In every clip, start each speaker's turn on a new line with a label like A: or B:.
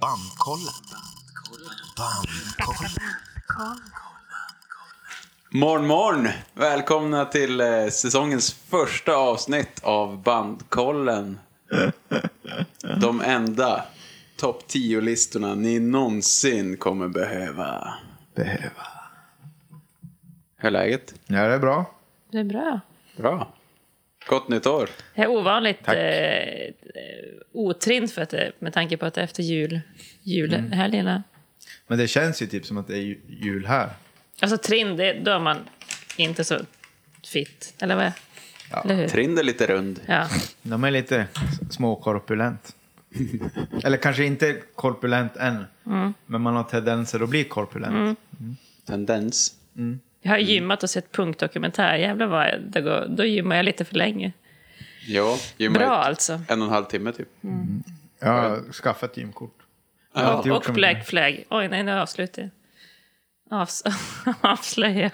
A: Bandkollen. Bandkollen.
B: Morgon, morgon! Välkomna till eh, säsongens första avsnitt av Bandkollen. De enda topp 10-listorna ni någonsin kommer behöva.
C: Behöva.
B: Hur är läget?
C: Ja, det är bra.
D: Det är bra.
B: Bra. Gott nytt år.
D: Det är ovanligt eh, eh, otrint för att det, med tanke på att det är efter jul, julhelgerna.
C: Mm. Men det känns ju typ som att det är ju- jul här.
D: Alltså trind, det, då är man inte så fit. Eller vad är
C: Ja.
D: Eller hur?
B: Trind är lite rund.
D: Ja.
C: De är lite s- småkorpulent. Eller kanske inte korpulent än. Men man har tendenser att bli korpulent.
B: Tendens.
D: Jag har
C: Mm.
D: gymmat och sett punktdokumentär. Jävlar vad jag, då, går, då gymmar jag lite för länge.
B: Ja, gymma
D: Bra
B: ett-
D: alltså.
B: En och en halv timme typ.
C: Jag har skaffat gymkort. Jag har
D: Och,
C: inte gjort
D: och
C: så
D: Black
C: mycket.
D: Flag. Oj, nej, nu avslutar jag. Avs avslöja.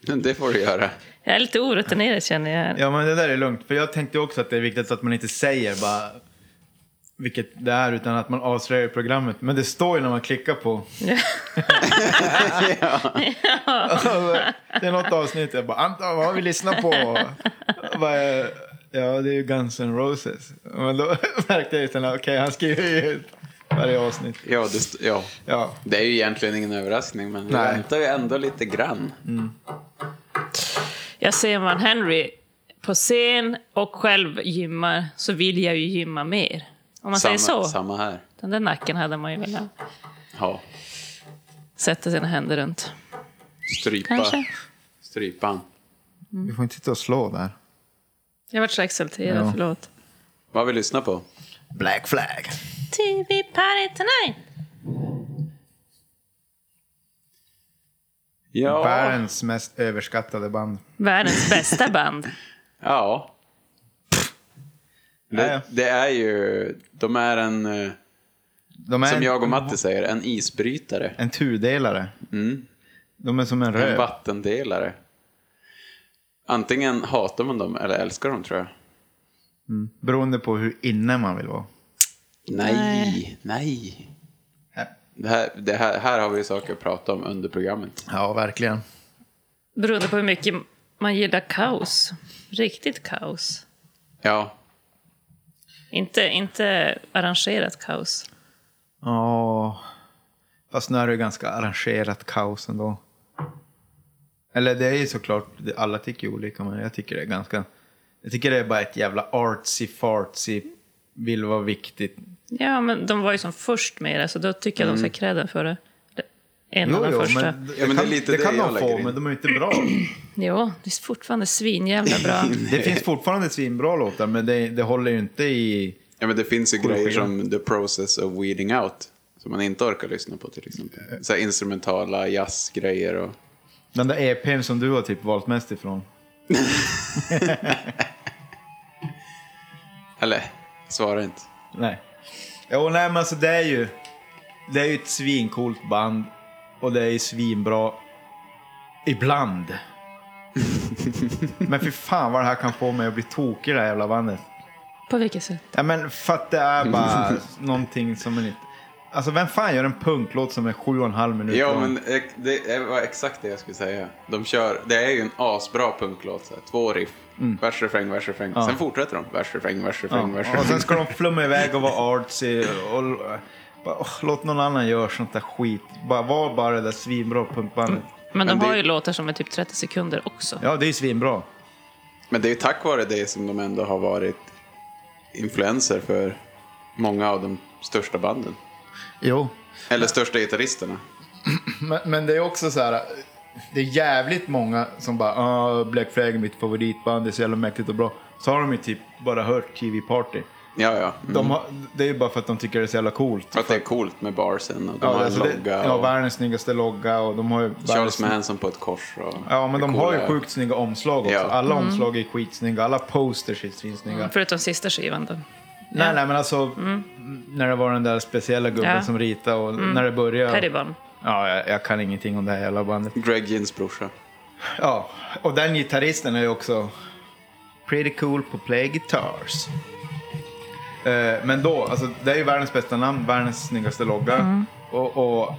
B: Det får du göra.
D: Jag är lite orutinerad känner jag.
C: Ja, men det där är lugnt. För jag tänkte också att det är viktigt att man inte säger bara vilket det är utan att man avslöjar programmet. Men det står ju när man klickar på. det är något avsnitt jag bara Anton, vad har vi lyssnat på? Jag bara, ja, det är ju Guns N' Roses. Men då märkte jag ju sen, okej, han skriver ju ut varje avsnitt.
B: Ja, det, st- ja.
C: Ja,
B: det är ju egentligen ingen överraskning men vi
C: Nej.
B: väntar ju ändå lite grann.
D: Jag ser man Henry på scen och själv gymmar så vill jag ju gymma mer. Om man
B: samma,
D: säger så.
B: samma här.
D: Den där nacken hade man ju velat
B: Ja.
D: sätta sina händer runt.
B: Strypa.
D: Kanske.
B: Strypan.
C: vi får inte sitta och slå där.
D: Jag vart så exalterad,
C: Ja.
D: förlåt.
B: Vad vi lyssnar på?
C: Black flag.
D: TV party tonight!
B: Ja.
C: Världens mest överskattade band.
D: Världens bästa band.
B: ja.
C: Ja, ja.
B: Det, det är ju, de är en, eh,
C: De är
B: som
C: en-
B: jag och Matti säger, en isbrytare.
C: En tudelare.
B: Mm.
C: De är som en
B: En
C: röv.
B: vattendelare. Antingen hatar man dem eller älskar dem tror jag.
C: Beroende på hur inne man vill vara.
B: Nej, nej.
C: Nej.
B: Det här, det här, här har vi saker att prata om under programmet.
C: Ja, verkligen.
D: Beroende på hur mycket man gillar kaos. Riktigt kaos.
B: Ja,
D: Inte, inte arrangerat kaos.
C: Ja. Fast nu är det ganska arrangerat kaos ändå. Eller det är ju såklart, det- alla tycker ju olika, men jag tycker det är ganska... Jag tycker det är bara ett jävla artsy fartsy, vill vara viktigt.
D: Ja, men de var ju som först med det, så då tycker jag de ska ha credden för det. En av de första.
C: men, det,
B: Ja, Mm. men
C: kan,
B: det är lite
C: det
B: det
C: kan
B: jag
C: de
B: lägger
C: få,
B: in.
C: men de är ju inte bra.
D: Jo, det är fortfarande svinjävla bra.
C: Det finns fortfarande svinbra låtar, men det, det håller ju inte i...
B: Ja, men det finns ju
C: Sjukt
B: grejer
C: program.
B: som The Process of Weeding Out. Som man inte orkar lyssna på till
C: Eh,
B: exempel. Så här instrumentala jazzgrejer och...
C: Den där EPn som du har typ valt mest ifrån.
B: Eller, svara inte.
C: Nej. Jo, nej men alltså det är ju... Det är ju ett svincoolt band och det är ju svinbra ibland. men för fan vad det här kan få mig att bli tokig i det här jävla bandet.
D: På vilket sätt?
C: Ja men för att det är bara någonting som är lite... Alltså vem fan gör en punklåt som är sju och en halv minut
B: Ja,
C: lång?
B: men eh, det var exakt det jag skulle säga. De kör, det är ju en asbra punklåt. Så här, två riff.
C: Mm.
B: Vers, refräng, vers, refräng. Sen fortsätter de. Vers, refräng, vers, refräng, vers,
C: Och sen
B: refräng.
C: ska de flumma iväg och vara artsy. Och, bara, åh, låt någon annan göra sånt där skit. Bara, var bara det där svinbra punkbandet.
D: Men de
B: Men det-
D: har ju låtar som är typ 30 sekunder också.
C: Ja, det är ju svinbra.
B: Men det är ju tack vare det som de ändå har varit influenser för många av de största banden.
C: Jo,
B: Eller största gitarristerna.
C: Men, men det är också så här. Det är jävligt många som bara ah, Black Flag är mitt favoritband, det är så jävla mäktigt och bra. Så har de ju typ bara hört TV Party.
B: Ja, ja. Mm.
C: De har, det är ju bara för att de tycker det är så jävla coolt.
B: För att det är coolt med barsen och de
C: Ja,
B: har en
C: alltså det,
B: logga.
C: ja,
B: och-
C: världens snyggaste logga och de har ju...
B: Charles
C: världens-
B: Manson på ett kors. Och
C: Ja, men de har ju
B: coola-
C: sjukt snygga omslag också.
B: Ja.
C: Alla omslag är skitsnygga, alla posters är svinsnygga.
D: Förutom sista skivan då.
C: Nej, nej, men alltså när det var den där speciella gubben
D: Ja.
C: som ritade och när det började...
D: Peribon.
C: Mm. Ja, jag, jag kan ingenting om det här jävla bandet.
B: Greg Gins brorsa.
C: Ja, och den gitarristen är ju också pretty cool på play guitars. Eh, men då, alltså, det är ju världens bästa namn, världens snyggaste logga. Och, och eh,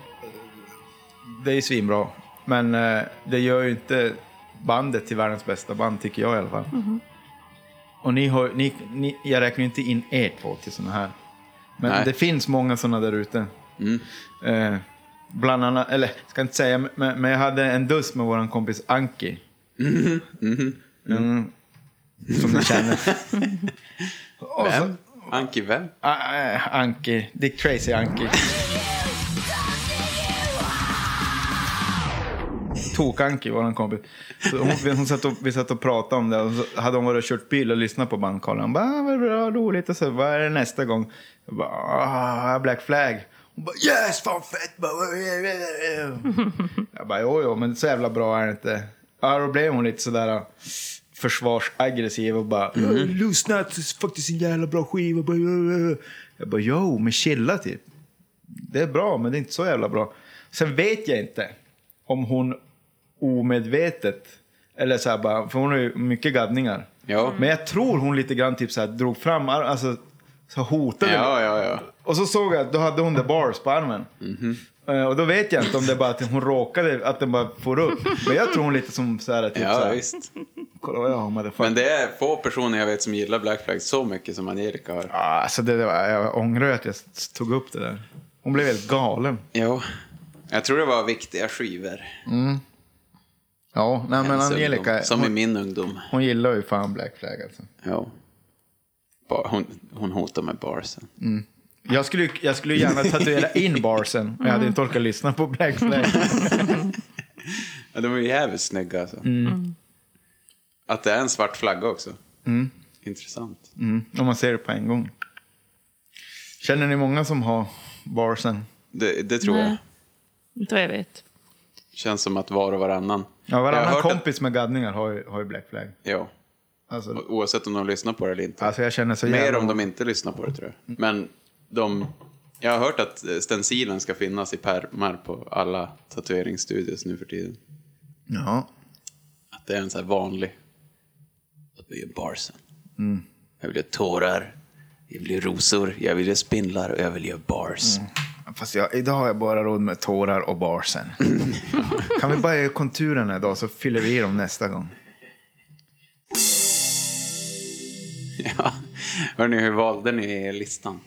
C: det är ju svinbra. Men eh, det gör ju inte bandet till världens bästa band, tycker jag i alla fall. Och ni har, ni, ni, jag räknar ju inte in er två till sådana här. Men
B: Nej.
C: det finns många sådana där ute.
B: Mm.
C: Eh, bland annat, eller ska inte säga, men, men jag hade en duss med våran kompis Anki.
B: Mm-hmm.
C: Mm. Som ni känner. Och så-
B: Vem? Anki, vem?
C: Ah, eh, Anki. Dick Tracy Anki. Tok-Anki, våran kompis. Så hon, hon satt och, vi satt och pratade om det. Och så hade hon varit och kört bil och lyssnat på bandkollen. Hon bara, ah, vad bra, roligt. Och så, vad är det nästa gång? Jag bara, ah, Black Flag. Hon bara, yes, fan fett. Jag bara, jo, jo, men så jävla bra är det inte. Ja, då blev hon lite sådär ah, försvarsaggressiv och bara, mm. lyssna, det är faktiskt en jävla bra skiva. "Äh, Jag bara, jo, men chilla typ. Det är bra, men det är inte så jävla bra. Sen vet jag inte om hon omedvetet, eller så här bara, för hon har ju mycket gaddningar.
B: Ja.
C: Men jag tror hon lite grann typ så här drog fram, ar- alltså så hotade mig.
B: Ja, ja, ja.
C: Och så såg jag att då hade hon the bars på armen.
B: Mhm.
C: Eh, Och då vet jag inte om det bara att hon råkade, att den bara for upp. Men jag tror hon lite som så här, typ så
B: Ja,
C: här,
B: visst.
C: kolla vad jag har motherfucker.
B: Men det är få personer jag vet som gillar Black Flag så mycket som Angelica har.
C: Ah, Alltså det, det var, jag ångrar att jag tog upp det där. Hon blev helt galen.
B: Ja. Jag tror det var viktiga skivor.
C: Ja, nej, men
B: Hennes
C: Angelica,
B: ungdom. Som i
C: hon,
B: min ungdom.
C: hon gillar ju fan Black Flag alltså.
B: Ja. Ba- Hon, hon hotar med barsen.
C: Jag skulle, jag skulle gärna tatuera in barsen, men jag hade inte orkat lyssna på Black Flag.
B: Ja, de är ju jävligt snygga alltså.
C: Mm.
B: Att det är en svart flagga också. Intressant.
C: Mm, om man ser det på en gång. Känner ni många som har barsen?
B: Det, det tror
D: Nej.
B: jag.
D: Inte vad jag vet.
B: Känns som att var och varannan.
C: Ja,
B: Jag har
C: varannan
B: hört
C: kompis med gaddningar har ju, har ju Black Flag.
B: Att, ja.
C: Alltså,
B: Oavsett om de lyssnar på det eller inte.
C: alltså jag känner så
B: Mer
C: jävla... Mm.
B: om de inte lyssnar på det tror jag. Men de... Jag har hört att eh, stencilen ska finnas i pärmar på alla tatueringsstudios nu för tiden.
C: Ja.
B: Att det är en så här vanlig... Att vi gör barsen.
C: Mm.
B: Jag vill göra tårar. Jag vill göra rosor. Jag vill göra spindlar och jag vill göra bars.
C: Mm. Fast jag, idag har jag bara råd med tårar och barsen. kan vi bara göra konturerna idag så fyller vi i dem nästa gång.
B: Ja. Hörni, hur valde ni listan?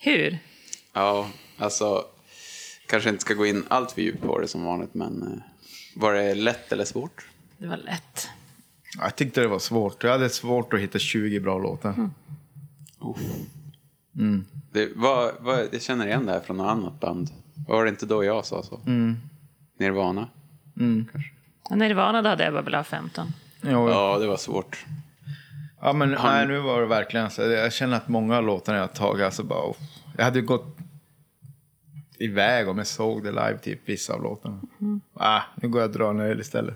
D: Hur?
B: Ja, alltså... Kanske inte ska gå in allt för djupt på det som vanligt, men... eh, Var det lätt eller svårt?
D: Det var lätt.
C: Ja, Jag tyckte det var svårt. Jag hade svårt att hitta 20 bra låtar.
B: Det var, var, jag känner igen det här från något annat band. Var det inte då jag sa så?
C: Mm.
B: Nirvana?
D: Och Nirvana, då hade jag bara velat ha 15.
C: Jo, ja.
B: Ja, det var svårt.
C: ja, men nej, nu var det verkligen så. Jag känner att många av låtarna jag har tagit, alltså bara... uff. Jag hade ju gått iväg om jag såg det live, typ vissa av låtarna. Ah, nu går jag och drar en öl istället.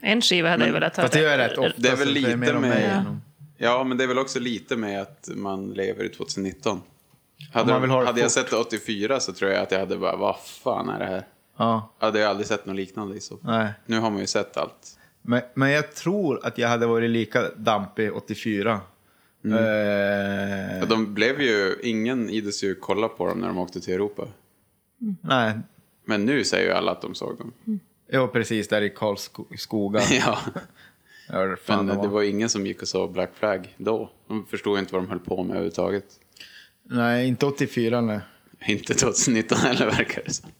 D: En skiva hade jag velat ha.
C: Fast det gör jag rätt ofta.
B: Det är
C: så
B: väl lite
C: mer om mig
B: med-
C: än om-
B: Ja, men det är väl också lite med att man lever i 2019. Hade,
C: man vill ha det
B: hade jag
C: fort.
B: sett det 84 så tror jag att jag hade bara, vad fan är det här?
C: Ja,
B: Jag hade ju aldrig sett något liknande i så fall.
C: nej.
B: Nu har man ju sett allt.
C: Men, men jag tror att jag hade varit lika dampig 84.
B: Mm.
C: Eh,
B: Och De blev ju, ingen ides ju kolla på dem när de åkte till Europa.
C: Nej,
B: Men nu säger ju alla att de såg dem.
C: jag var precis där i Karlskoga.
B: Ja,
C: Jag hörde fan
B: men
C: det var.
B: det var ju ingen som gick och sa Black Flag då. De förstod ju inte vad de höll på med överhuvudtaget.
C: Nej, inte 84 nej.
B: Inte 2019 heller verkar det som.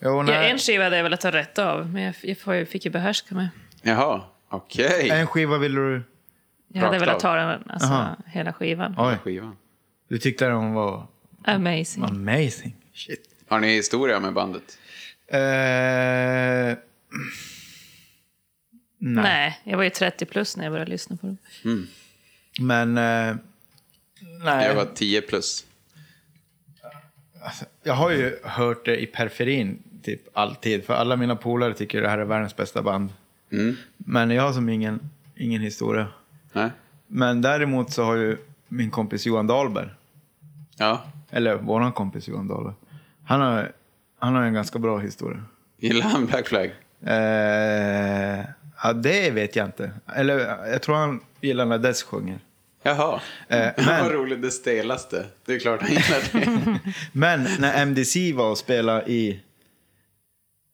C: Jo,
D: Ja,
C: nej.
D: en skiva hade jag velat ha rätt av, men jag, jag får ju- fick ju behärska mig.
B: Jaha, okej.
C: en skiva ville du...
D: Jag hade
B: Rakt
D: velat
B: av.
D: ta den, alltså,
C: Aha.
D: hela skivan.
C: Oj,
B: Skivan.
C: du tyckte den var
D: Amazing.
C: amazing. Shit.
B: Har ni historia med bandet?
C: Eh, nej.
D: Nej. jag var ju 30 plus när jag började lyssna på dem.
C: Men... Eh, nej.
B: Jag var 10 plus.
C: Jag har ju hört det i periferin typ alltid, för alla mina polare tycker det här är världens bästa band. Men jag har som ingen, ingen historia.
B: Mm. Nej?
C: Men däremot så har ju min kompis Johan Dahlberg,
B: Ja.
C: eller våran kompis Johan Dahlberg, han har, han har en ganska bra historia.
B: Gillar han Black Flag?
C: Eh, ja, det vet jag inte. Eller jag tror han gillar när Dess sjunger.
B: Jaha.
C: Eh, men-
B: Vad roligt, det stelaste. Det är klart han gillar det.
C: Men när MDC var och spelade i...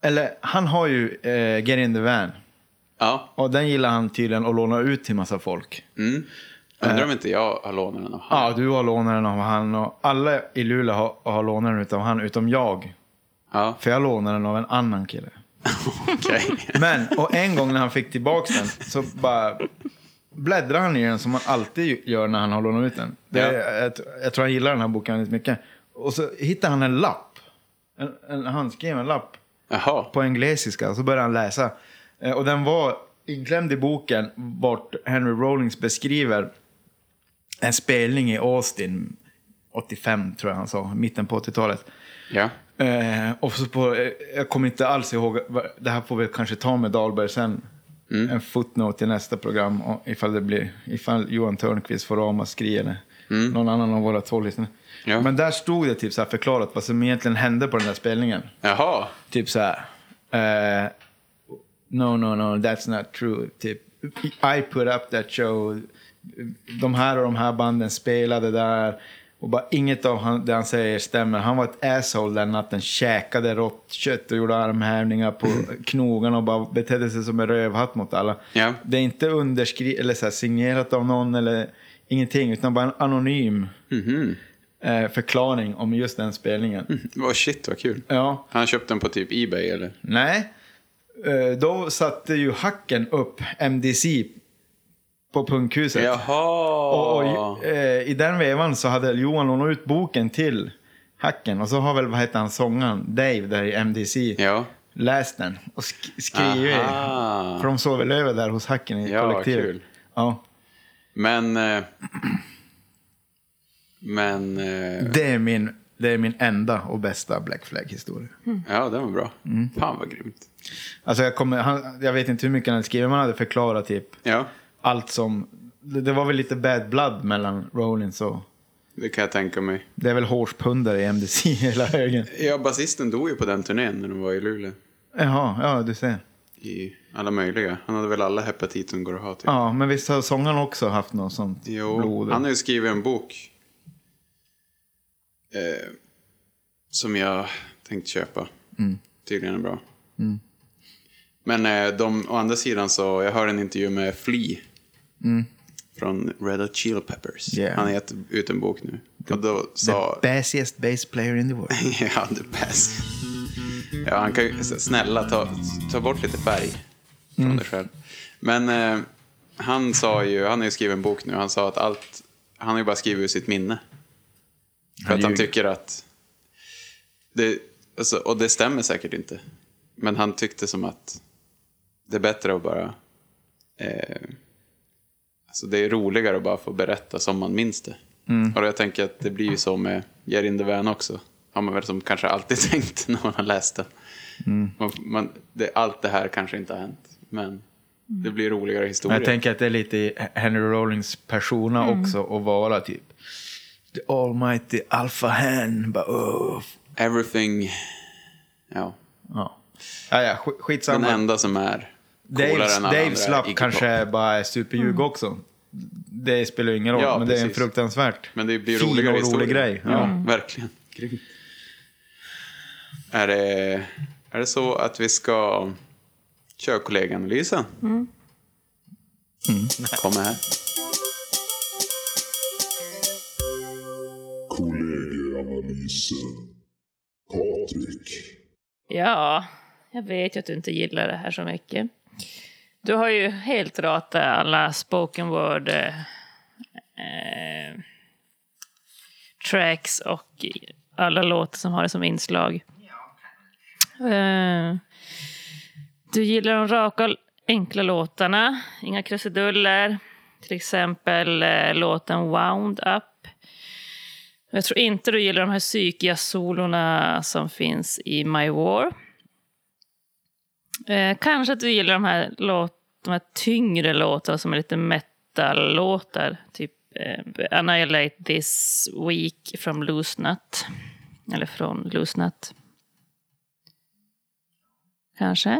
C: Eller han har ju eh, Get In The Van.
B: ja.
C: Och den gillar han tydligen att låna ut till massa folk.
B: Mm. Undrar
C: Eh.
B: om inte jag har lånat den av han.
C: Ja, du har lånat den av han och alla i Luleå har, har lånat den utav han utom jag.
B: Ja,
C: För jag lånade den av en annan kille.
B: okej.
C: Men, och en gång när han fick tillbaka den så bara bläddrade han i den som man alltid gör när han har lånat ut den. Det,
B: Ja.
C: jag, tr- jag tror han gillar den här boken väldigt mycket. Och så hittade han en lapp. En, en handskriven lapp
B: Jaha.
C: på englesiska. Så började han läsa. Eh, Och den var inklämd i boken vart Henry Rollins beskriver en spelning i Austin 85 tror jag han sa, mitten på 80-talet.
B: Ja.
C: Eh, och så på, eh, jag kommer inte alls ihåg, va- det här får vi kanske ta med Dahlberg sen. En footnote i nästa program och ifall, det blir, ifall Johan Törnqvist får ramaskri eller någon annan av våra två lyssnare.
B: Ja.
C: Men där stod det typ så här förklarat vad som egentligen hände på den där spelningen.
B: Jaha.
C: Typ så här. eh, no, no, no, that's not true. Typ, I put up that show. De här och de här banden spelade där. Och bara inget av han, det han säger stämmer. Han var ett asshole den natten. Käkade rått kött och gjorde armhävningar på knogarna och bara betedde sig som en rövhatt mot alla.
B: Ja.
C: Det är inte underskri- eller så här, signerat av någon eller ingenting. Utan bara en anonym eh, förklaring om just den spelningen.
B: Vad shit, vad kul.
C: Ja.
B: Han köpte den på typ Ebay eller?
C: Nej. Eh, Då satte ju hacken upp MDC på punkhuset.
B: Jaha.
C: Och, och, eh, I den vevan så hade Johan lånat ut boken till hacken. Och så har väl, vad heter han, sångaren Dave där i MDC
B: Ja.
C: läst den och sk- skrivit.
B: Aha.
C: För de sov väl över där hos hacken i
B: Ja,
C: kollektivet.
B: kul.
C: Ja,
B: Men... eh, Men... eh,
C: det är min, det är min enda och bästa Black Flag-historia.
B: Ja, den var bra. Fan vad grymt.
C: Alltså jag, kommer, han, jag vet inte hur mycket han hade skrivit, men han hade förklarat typ
B: Ja,
C: allt som... Det, det var väl lite bad blood mellan Rollins och...
B: det kan jag tänka mig.
C: Det är väl hårspundare i MDC hela högen.
B: Ja, basisten dog ju på den turnén när de var i Luleå.
C: Jaha, ja du ser.
B: I alla möjliga. Han hade väl alla hepatit som går att ha typ.
C: Ja, men visst har sångaren också haft något sånt
B: Jo,
C: blod?
B: han har ju skrivit en bok. Eh, som jag tänkt köpa.
C: Mm.
B: Tydligen är bra. Men eh, de, å andra sidan så, jag hör en intervju med Flea. Från Red Hot Chili Peppers.
C: Mm. Yeah.
B: Han har gett ut en bok nu. Och då sa...
C: The bassiest bass player in the world.
B: ja, the best. Ja, han kan ju, snälla ta, ta bort lite färg från
C: Mm.
B: dig själv. Men eh, han sa ju, han har ju skrivit en bok nu, han sa att allt, han har ju bara skrivit ur sitt minne. För
C: Han
B: att han
C: ljuger.
B: tycker att, det, alltså, och det stämmer säkert inte, men han tyckte som att det är bättre att bara, eh, alltså det är roligare att bara få berätta som man minns det.
C: Mm.
B: Och jag tänker att det blir ju så med Get in the van också. Har man väl som kanske alltid tänkt när man har läst den.
C: Mm.
B: Man, man, det, allt det här kanske inte har hänt, men det blir roligare historier.
C: Jag tänker att det är lite i Henry Rollins persona också att vara typ the almighty alpha hand. Bara, oh.
B: Everything, ja.
C: ja. Ja, ja, sk-
B: Den
C: skitsamma.
B: enda som är coolare
C: Daves,
B: än alla
C: Daves
B: andra är
C: lapp
B: Iggy
C: kanske
B: Pop.
C: är bara är superljug också. Det spelar ju ingen roll,
B: Ja,
C: men det är en
B: precis.
C: fruktansvärt
B: Men det blir
C: fin
B: roligare
C: och rolig
B: historier.
C: grej.
B: Ja, verkligen. Grymt. Är det, är det så att vi ska köra kollegaanalysen? Mm.
C: Mm.
B: Kommer här.
A: Kollegieanalysen. Patrik.
D: Ja, jag vet ju att du inte gillar det här så mycket. Du har ju helt ratat alla spoken word eh, eh, tracks och alla låtar som har det som inslag. Eh, du gillar de raka, enkla låtarna. Inga krusiduller. Till exempel eh, låten Wound Up. Jag tror inte du gillar de här psykiga solorna som finns i My War. Eh, kanske att du gillar de här, låt, de här tyngre låtarna som är lite metal-låtar. Typ eh, Annihilate This Week från Loose Nut. Eller från Loose Nut. Kanske.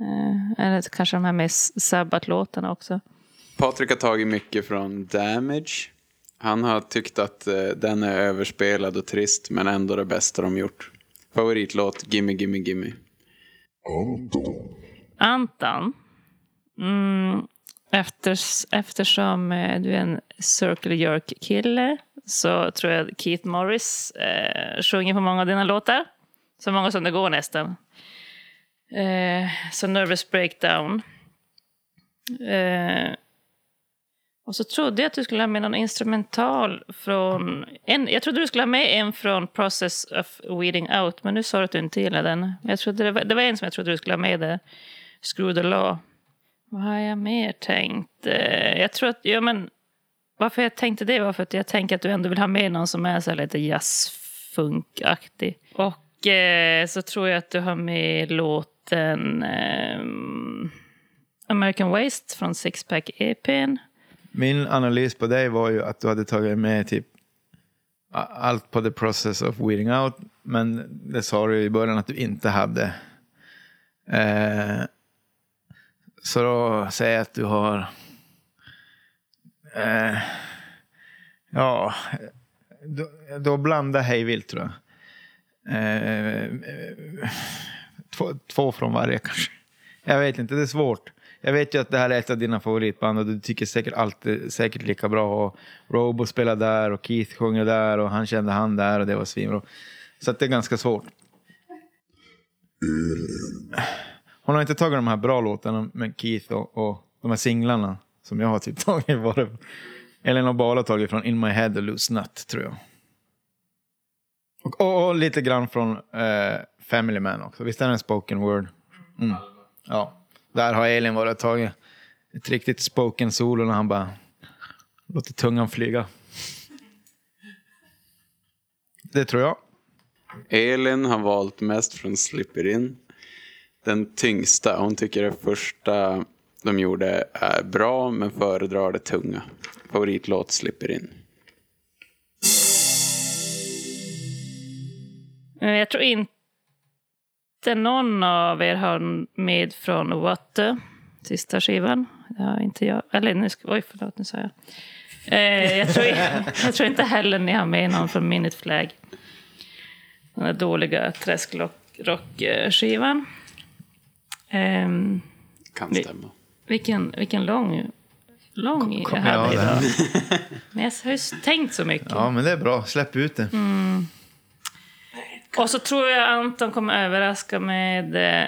D: Eh, eller kanske de här med Sabbat-låtarna också.
B: Patrik har tagit mycket från Damage. Han har tyckt att eh, den är överspelad och trist, men ändå det bästa de gjort. Favoritlåt, Gimme Gimme Gimme.
A: Anton,
D: Anton. Mm, efters, eftersom eh, du är en Circle Jerk-kille så tror jag att Keith Morris eh, sjunger på många av dina låtar. Så många som det går nästan. Eh, så Nervous Breakdown. Eh, och så trodde jag att du skulle ha med någon instrumental från... En, jag trodde du skulle ha med en från Process of Weeding Out, men nu sa du att du inte gillade den. Jag trodde det, var, det var en som jag trodde du skulle ha med där. Screw the Law. Vad har jag mer tänkt? Eh, Jag tror att... Ja, men, varför jag tänkte det var för att jag tänker att du ändå vill ha med någon som är så här lite jazzfunkaktig. Och eh, så tror jag att du har med låten ehm, American Waste från Sixpack E EPn.
C: Min analys på dig var ju att du hade tagit med typ a- allt på the process of weeding out. Men det sa du i början att du inte hade. Eh, så då säger jag att du har... Eh, ja, då, då blanda hej vilt tror jag. Eh, eh, två, två från varje kanske. Jag vet inte, det är svårt. Jag vet ju att det här är ett av dina favoritband och du tycker säkert allt är säkert lika bra. Och Robo spelar där och Keith sjunger där och han kände han där och det var svinbra. Så att det är ganska svårt. Hon har inte tagit de här bra låtarna med Keith och, och de här singlarna som jag har typ tagit. Var det, Ellen och Bala har tagit från In My Head och Loose Nut tror jag. Och, och, och lite grann från eh, Family Man också. Visst är det en spoken word? Mm. Ja. Där har Elin varit och tagit ett riktigt spoken solo när han bara låter tungan flyga. Det tror jag.
B: Elin har valt mest från Slipper In. Den tyngsta. Hon tycker det första de gjorde är bra, men föredrar det tunga. Favoritlåt Slipper In.
D: Eh, Jag tror inte någon av er har med från Watte, sista skivan. Det har inte jag. Eller nu, ska- oj, förlåt, nu sa jag. Eh, jag, tror, jag tror inte heller ni har med någon från Minute Flag. Den där dåliga träskrock-skivan. Ehm,
B: Kan
D: Nej.
B: stämma.
D: vilken, vilken lång, lång jag
C: Ja,
D: hade
C: det-
D: idag. Men jag har ju tänkt så mycket.
C: ja, men det är bra. Släpp ut det.
B: Mm.
D: Och så tror jag Anton kommer överraska med eh,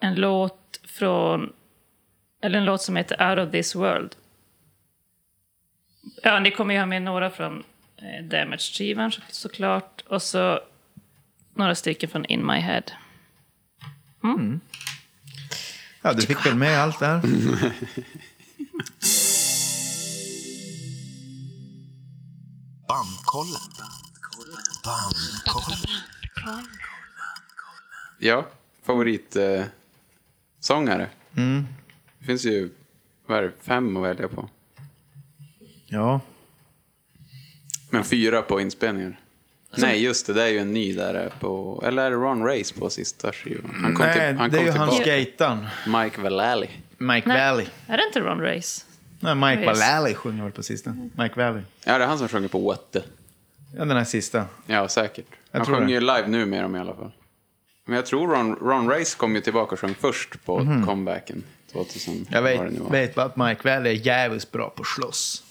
D: en låt från... Eller en låt som heter Out of this world. Ja, ni kommer ju ha med några från eh, Damage-skivan så- såklart. Och så några stycken från In My Head.
C: Ja, du fick väl med allt där.
E: Bandkollen. Bandkollen.
B: Ja, favoritsångare. Eh, sångare.
C: Mm.
B: Det finns ju vad är det, fem att välja på.
C: Ja.
B: Men fyra på inspelningar. Nej, just det. Det är ju en ny där på... Eller är det Ron Race på sista skivan? Han kom,
C: Nej,
B: till, han
C: det är
B: kom
C: ju han
B: tillbaka.
C: skejtaren.
B: Mike Vallely.
C: Mike
D: Nej.
C: Valley.
D: Är det inte Ron Race?
C: Nej, Mike
D: Just.
C: Valley sjunger väl på sista. Mike Valley.
B: Ja, det är han som sjunger på What the.
C: Ja, den här sista.
B: Ja, säkert.
C: Jag
B: han
C: tror
B: sjunger
C: det.
B: ju live nu med dem i alla fall. Men jag tror Ron, Ron Race kom ju tillbaka och sjöng först på comebacken. 2000,
C: Mhm. Jag
B: vad det nu
C: vet,
B: var.
C: vet bara att Mike Valley är jävligt bra på att slåss.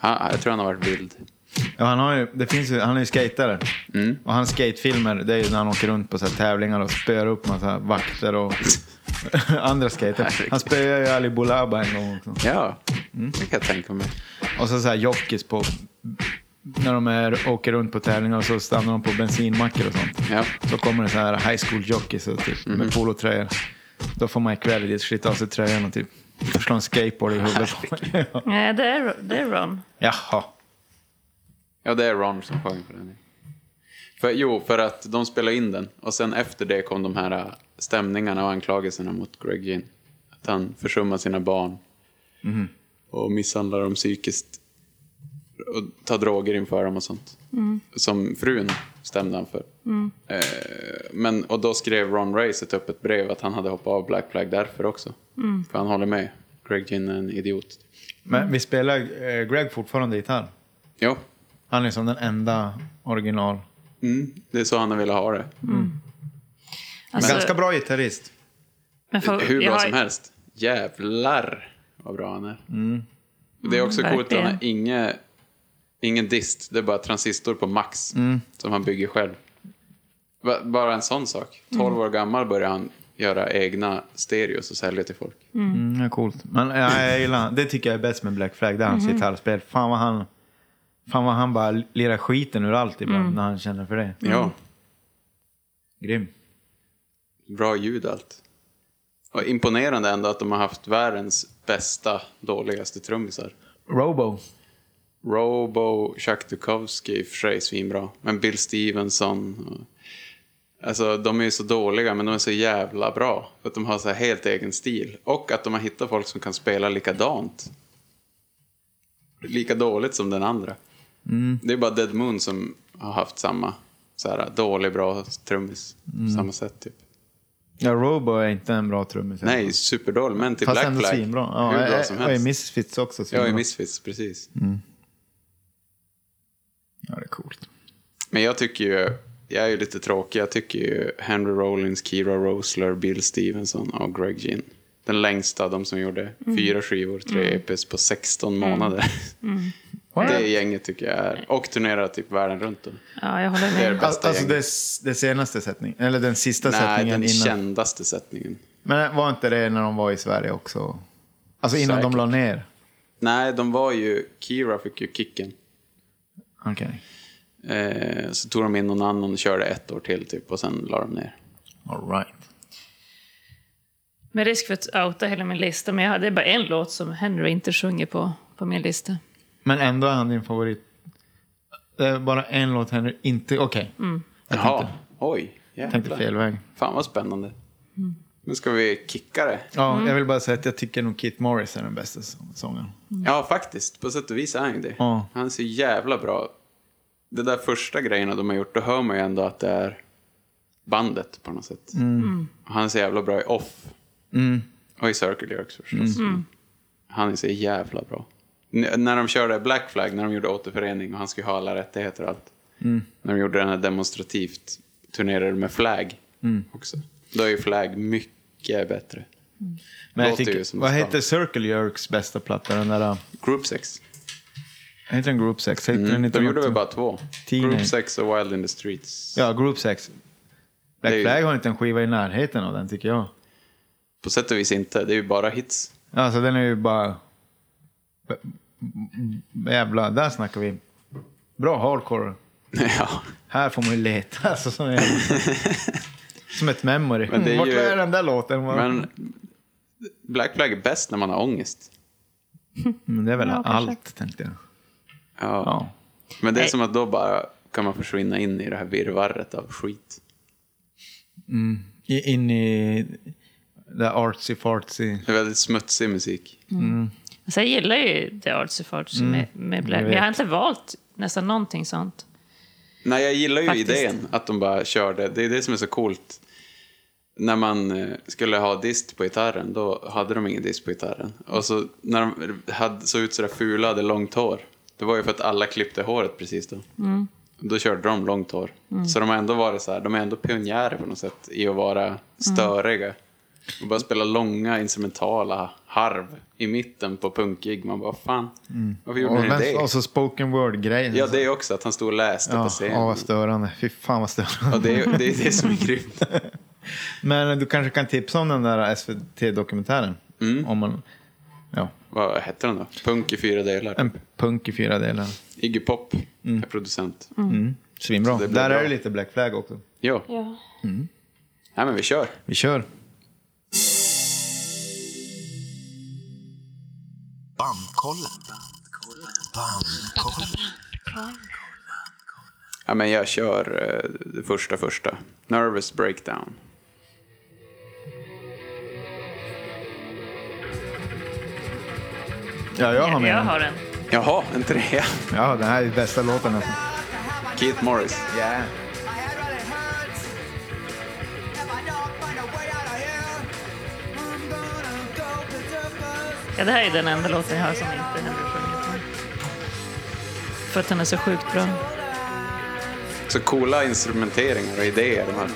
B: Ja, jag tror han har varit vild.
C: Ja, han, har ju, det finns ju, han är ju skatare. Och hans skatefilmer, det är ju när han åker runt på så här tävlingar och spöar upp massa vakter och andra skater. Han spöade ju Ali Boulaba en gång också.
B: Ja,
C: Mm.
B: det kan jag tänka mig.
C: Och så, så här jockeys på... När de är, åker runt på tävlingar så stannar de på bensinmackar och sånt.
B: Ja.
C: Så kommer det så här high school jockeys och typ, med polotröjor. Då får Mike Valley dit, slita av sig tröjan och typ slå en skateboard i huvudet på mig.
D: Nej, det är, det är Ron.
C: Jaha.
B: Ja, det är Ron som sjöng på den. För, jo, för att de spelade in den. Och sen efter det kom de här äh, stämningarna och anklagelserna mot Greg Ginn. Att han försummar sina barn. Och misshandlar dem psykiskt. Och tar droger inför dem och sånt. Som frun stämde han för. Eh, men, och då skrev Ron Race ett öppet brev att han hade hoppat av Black Flag därför också. För han håller med Greg Ginn är en idiot.
C: Men vi spelar eh, Greg fortfarande gitarr.
B: Jo,
C: Han är som den enda original.
B: mm, det är så han har velat ha det.
D: Alltså,
C: Ganska bra gitarrist.
D: men för-
B: Hur
D: jag
B: bra
D: har-
B: som helst. Jävlar vad bra han är. Det är också
D: Mm,
B: coolt att han har
D: verkligen.
B: inge, ingen dist. Det är bara transistor på max som han bygger själv. Ba- Bara en sån sak. 12
D: Mm.
B: år gammal börjar han göra egna stereos och sälja till folk.
C: Mm, det är coolt. Men ja, jag gillar han. Det tycker jag är bäst med Black Flag. Det är hans gitarrspel. Fan vad han... Fan vad han bara lirar skiten ur allt ibland när han känner för det.
D: Mm.
B: Ja,
C: Grym.
B: bra ljud allt. Och imponerande ändå att de har haft världens bästa, dåligaste trummisar.
C: Robo.
B: Robo, Chuck Dukowski, i och för sig svinbra. Men Bill Stevenson. och- Alltså de är ju så dåliga men de är så jävla bra. För att de har så här helt egen stil. Och att de har hittat folk som kan spela likadant. Lika dåligt som den andra.
C: Mm.
B: Det är bara Dead Moon som har haft samma. Så här, dålig, bra trummis.
C: Mm.
B: på Samma sätt typ.
C: Ja, Robo är inte en bra trummis.
B: Nej, superdålig. Men till
C: Fast
B: Black
C: ändå
B: Flag.
C: svinbra. Ja,
B: hur bra
C: eh,
B: som
C: Och i
B: helst.
C: Misfits också.
B: Ja, i
C: svinbra.
B: Misfits, precis.
C: Ja, det är coolt.
B: Men jag tycker ju, jag är ju lite tråkig, jag tycker ju Henry Rollins, Kira Rosler, Bill Stevenson och Greg Ginn. Den längsta, de som gjorde
C: Mm.
B: fyra skivor, tre EPs på 16 månader.
C: Mm.
B: Det gänget tycker jag är, och turnerar typ världen runt då.
D: Ja, jag håller
B: Det är det
D: med.
B: bästa
C: Alltså det,
B: gänget.
C: det senaste sättningen, eller den sista
B: Nej,
C: sättningen
B: den
C: innan.
B: kändaste sättningen.
C: Men var inte det när de var i Sverige också? Alltså innan de
B: Säkert.
C: la ner?
B: Nej, de var ju, Kira fick ju kicken.
C: Okej.
B: Eh, så tog de in någon annan och körde ett år till typ och sen la de ner.
C: All right.
D: Med risk för att outa hela min lista, men jag hade bara en låt som Henry inte sjunger på, på min lista.
C: Men ändå är han din favorit. Det är bara en låt Henry inte... Okej. Jag
B: Jaha,
C: tänkte,
B: oj,
C: tänkte Mm.
B: jävlar.
C: fel väg.
B: Fan vad spännande. Nu ska vi kicka det.
C: Ja, Jag vill bara säga att jag tycker nog Kit Morris är den bästa så- sångaren.
B: Ja, faktiskt. På sätt och vis är han ju det.
C: Ja.
B: Han är så jävla bra. Det där första grejerna de har gjort, då hör man ju ändå att det är bandet på något sätt. Och Han är så jävla bra i Off. Och i Circle Jerks förstås. Han är så jävla bra. N- när de körde Black Flag, när de gjorde återförening och han skulle ha alla rättigheter och allt. När de gjorde den här demonstrativt, turnerade med Flag också. Då är ju Flag mycket bättre.
C: Men jag
B: Låter ju
C: tycker,
B: som
C: vad
B: det ska.
C: heter Circle Jerks bästa platta? Den där...
B: Group 6.
C: Heter den Group Sex? Heter den inte
B: De Mm. gjorde
C: något-
B: väl bara två?
C: Teenage.
B: Group 6 och Wild in the Streets.
C: Ja, Group Sex. Black
B: Det är ju-
C: Flag har inte en skiva i närheten av den tycker jag.
B: På sätt och vis inte, det är ju bara hits.
C: Alltså den är ju bara... B- b- Jävla, där snackar vi. Bra hardcore.
B: ja.
C: Här får man ju leta. Alltså, som, en, som ett memory.
B: Men det är
C: Vart
B: ju-
C: är den där låten? Var-
B: Men Black Flag är bäst när man har ångest.
C: Men det är väl
D: Ja, kanske.
C: allt, tänkte jag.
B: Ja.
C: Ja.
B: Men det är
D: Nej.
B: som att då bara kan man försvinna in i det här virrvarret av skit.
C: I- In i det artsy fartsy.
B: Det är väldigt smutsig musik.
D: Alltså, jag gillar ju The Artsy Fartsy med, med Black,
C: Mm. jag
D: men jag
C: vet.
D: har inte valt nästan någonting sånt.
B: Nej, jag gillar ju
D: Faktiskt.
B: idén att de bara körde. Det är det som är så coolt. När man eh, skulle ha dist på gitarren, då hade de ingen dist på gitarren. Och så när de hade, såg ut sådär fula, hade långt hår. Det var ju för att alla klippte håret precis då. Då körde de långt hår. Så de har ändå varit så här, de är ändå pionjärer på något sätt i att vara störiga. Och bara spela långa instrumentala harv i mitten på punkgig. Man bara, fan, varför gjorde
C: Och,
B: ni det?
C: men, och så spoken word-grejen.
B: Ja, det är också att han stod och läste
C: ja,
B: på scenen.
C: ja, vad störande. Fy fan vad störande.
B: Ja, det, är- det är det som är grymt.
C: Men du kanske kan tipsa om den där SVT-dokumentären?
B: Mm.
C: Om man... Ja,
B: Vad hette den då? Punk i fyra delar.
C: en punk i fyra delar.
B: Iggy Pop är producent.
C: Svinbra.
B: Så det
C: Där
B: blir bra.
C: är det lite Black Flag också.
B: Ja,
D: Ja.
B: nej men vi kör.
C: Vi kör.
E: Bandkollen. Bandkollen.
B: Ja, men jag kör eh, det första första. Nervous Breakdown.
C: Ja, jag har
D: Jag,
C: med
D: jag
C: den.
D: har den.
B: Jaha, en trea.
C: Ja, den här är bästa låten alltså.
B: Keith Morris.
C: Yeah.
F: My head really hurts. If I don't find a way out of here, I'm gonna go berserkers.
D: Ja, det här är den enda låten jag har som inte heller sjunger. För att den är så sjukt bra.
B: Så coola instrumenteringar och idéer. De här.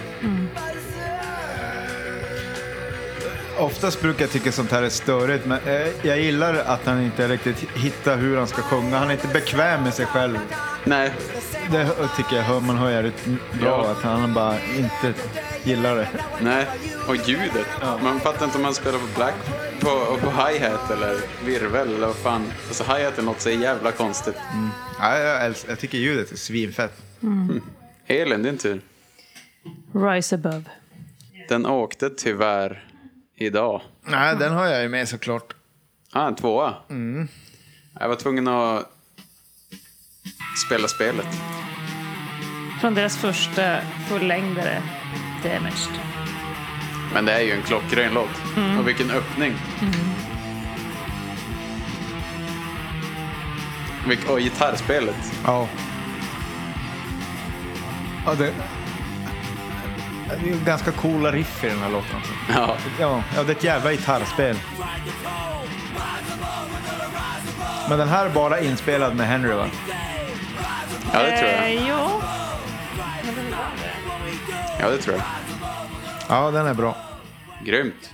C: Oftast brukar jag tycka sånt här är störigt, men eh, jag gillar att han inte riktigt hittar hur han ska sjunga. Han är inte bekväm med sig själv.
B: Nej,
C: Det hö- tycker jag hör, man hör jävligt bra,
B: Ja.
C: att han bara inte gillar det.
B: nej. Och ljudet. Man fattar inte om man spelar på black på, på hi-hat eller virvel eller vad fan. Alltså hi-hat är något så jävla konstigt.
C: Ja, jag, älskar, jag tycker ljudet är svinfett.
B: Elin, din tur.
D: Rise above.
B: Den åkte tyvärr idag.
C: Nej, den har jag ju med såklart.
B: Ah, en tvåa. Jag var tvungen att spela spelet.
D: Från deras första fullängdare, Damaged.
B: Men det är ju en klockren låt. Och vilken öppning. Vilk- och gitarrspelet.
C: Ja. Ja, det... Det är ju ganska coola riff i den här låten. Alltså.
B: Ja.
C: Ja, ja, det är ett jävla gitarrspel. Men den här är bara inspelad med Henry va?
B: ja, det tror jag.
D: Eh, ja.
B: Ja, det tror jag.
C: Ja, den är bra.
B: Grymt.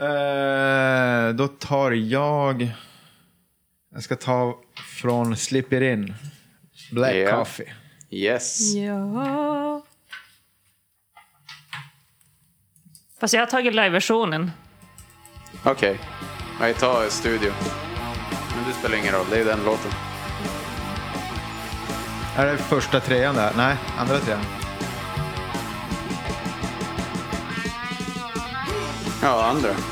C: Eh, då tar jag... Jag ska ta från Slip It In. Black
B: Ja.
C: Coffee.
B: Yes.
D: ja. Fast jag har tagit liveversionen.
B: Okej. Jag tar studio. Men det spelar ingen roll. Det är den låten.
C: Är det första trean där? Nej, andra trean.
B: Ja, andra.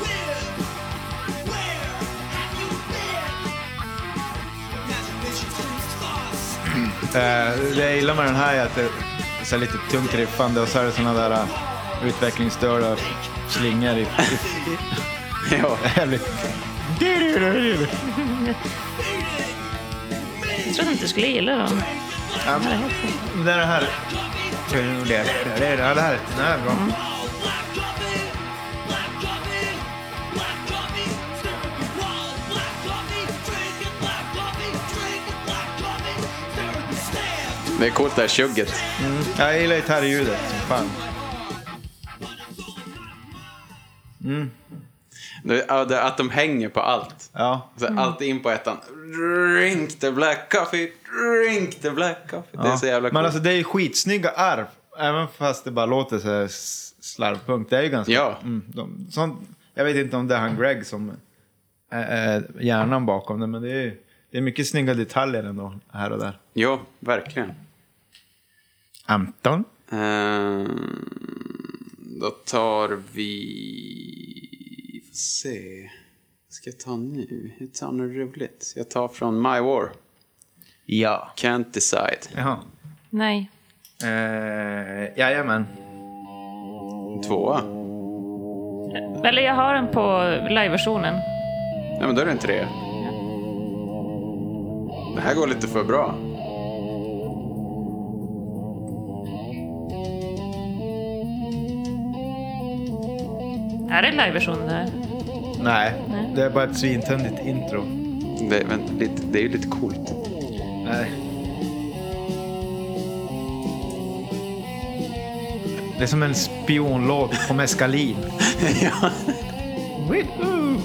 C: Eh, det jag gillar med den här är att det är så här lite tungt riffande och så är det såna där eh, utvecklingsstörda slingor i, i
B: ja.
C: jävligt...
D: Jag trodde inte du skulle gilla dem.
C: Ja, men- Det är det här... Det är det här. Det här det här är bra.
B: Det är coolt det här tjugget.
C: Ja, Jag gillar gitarrljudet. Fan.
B: Det- ja, det- Att de hänger på allt.
C: Ja.
B: Så Alltid in på ettan. Drink the black coffee, drink the black coffee. Det är
C: Ja.
B: så jävla coolt.
C: Men alltså det är ju skitsnygga arv. Även fast det bara låter så här s- slarvpunkt. Det är ju ganska...
B: Ja.
C: Mm, de, sånt, jag vet inte om det är han Greg som är, är hjärnan bakom det. Men det är, ju- det är mycket snygga detaljer ändå. Här och där.
B: Jo, verkligen.
C: Anton?
B: Ehm, då tar vi... Får se. Vad ska jag ta nu? Jag tar något roligt. Jag tar från My War.
C: Ja.
B: Can't decide.
C: Jaha.
D: Nej.
C: Eh, jajamän.
B: Tvåa.
D: Eller jag har den på liveversionen.
B: Nej, men då är det en trea. Det här går lite för bra.
D: Är det liveversionen där?
C: Nej, det är bara ett svintöntigt intro.
B: Det, vänta, lite, det är ju lite coolt.
C: Nej. Det är som en spionlåt på meskalin.
B: ja.
C: Woohoo!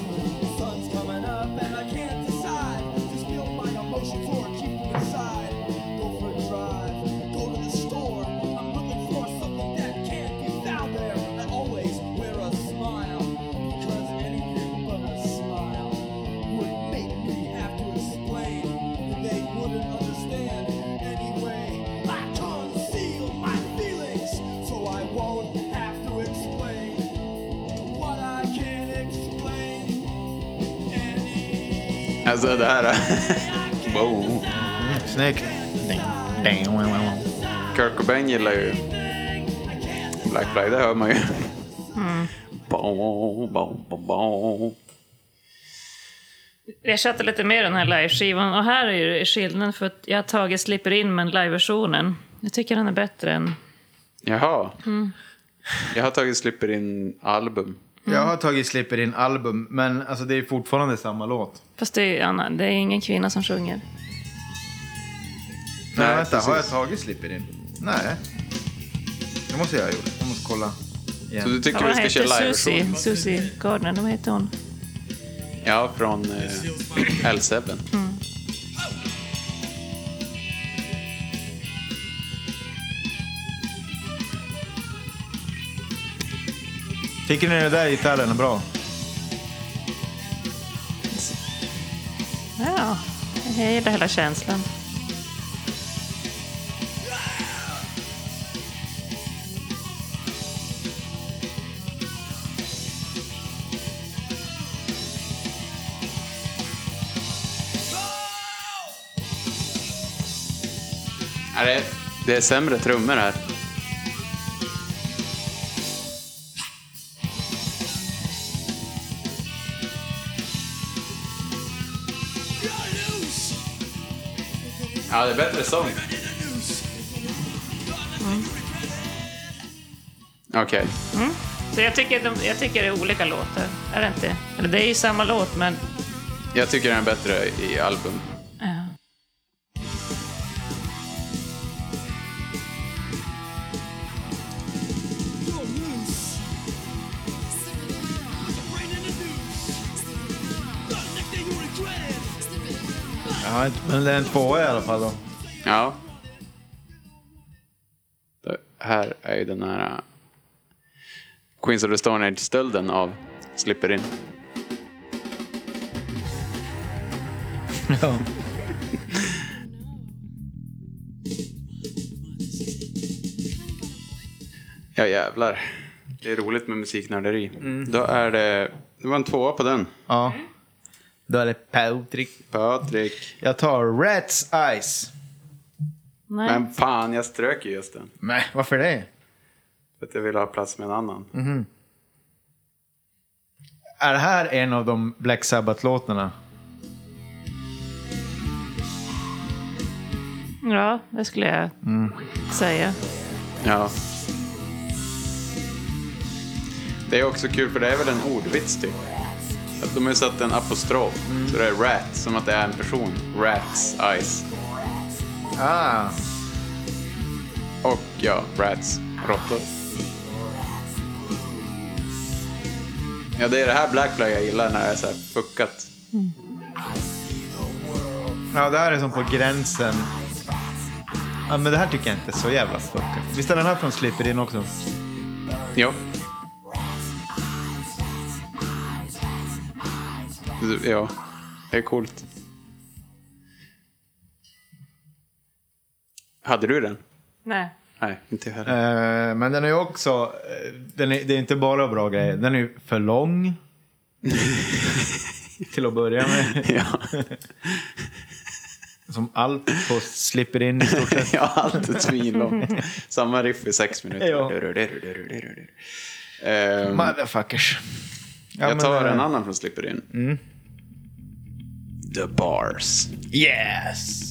G: What I can't explain
B: Alltså det här... wow.
C: Snyggt.
B: Kurt Cobain gillar ju Black Flag, det hör man ju.
D: Mm.
B: Bom, bom, bom, bom.
D: Jag chattar lite mer den här liveskivan och här är ju skillnaden för att jag har tagit Slipper In men liveversionen. Jag tycker den är bättre än... Mm.
B: Jaha. Jag har tagit Slipper In album.
C: Jag har tagit Slipper in album, men alltså det är fortfarande samma låt.
D: Fast det är, Anna, det är ingen kvinna som sjunger.
C: Nej,
B: Nej,
C: vänta, har jag
B: precis.
C: tagit Slipper in? Nej. Det måste jag ha gjort. Jag måste kolla. igen.
B: Så du tycker
D: Ja,
B: vi
D: vad
B: ska
D: heter
B: köra live
D: Susie? Susie Gardner, vad heter hon?
B: Ja, från eh, L7.
C: Tycker ni den där gitarren är bra?
D: Ja, jag gillar hela känslan.
B: Ja, det, det är sämre trummor här. Ja, det är bättre sång.
D: Mm.
B: Okej.
D: Så jag tycker, de, jag tycker det är olika låtar, är det inte? Eller det är ju samma låt, men...
B: Jag tycker den är bättre i album.
D: Ja.
C: Ja, men det är en tvåa i alla fall då.
B: Ja. Det här är ju den här äh, Queens of the Stone Age-stölden av Slipper In.
C: Ja.
B: Ja jävlar. Det är roligt med musiknörderi. Då är det... Det var en tvåa på den.
C: ja. Då är det Patrick.
B: Patrik.
C: Jag tar Rats Eyes.
D: Nej.
B: Men fan, jag strök ju just den.
C: Men varför det?
B: För att jag ville ha plats med en annan.
C: Är det här en av de Black Sabbath-låtarna?
D: Ja, det skulle jag
B: Mm.
D: säga.
B: Ja. Det är också kul för det är väl en ordvits typ. Att de har ju satt en apostrof. Så det är rat, som att det är en person. Rats, eyes.
C: Ah.
B: Och ja, rats, råttor. Ja, det är det här Black Flag jag gillar när det är så här fuckat.
C: Ja, det här är som på gränsen. Ja, men det här tycker jag inte är så jävla fuckat. Visst är den här från Slipper In också?
B: Jo. Ja, det är coolt. Hade du den?
D: Nej.
B: Nej, inte jag heller.
C: Eh, men den är ju också... eh, Den är, det är inte bara bra grejer. Den är ju för lång. Till att börja med.
B: Ja,
C: Som allt på Slipper In i stort sett.
B: jag har alltid svinlångt. Samma riff i sex minuter.
C: Ja.
B: Ehm,
C: Motherfuckers. Ja, men,
B: jag tar
C: eh, Mm.
B: en annan från Slipper In. The Bars.
C: Yes!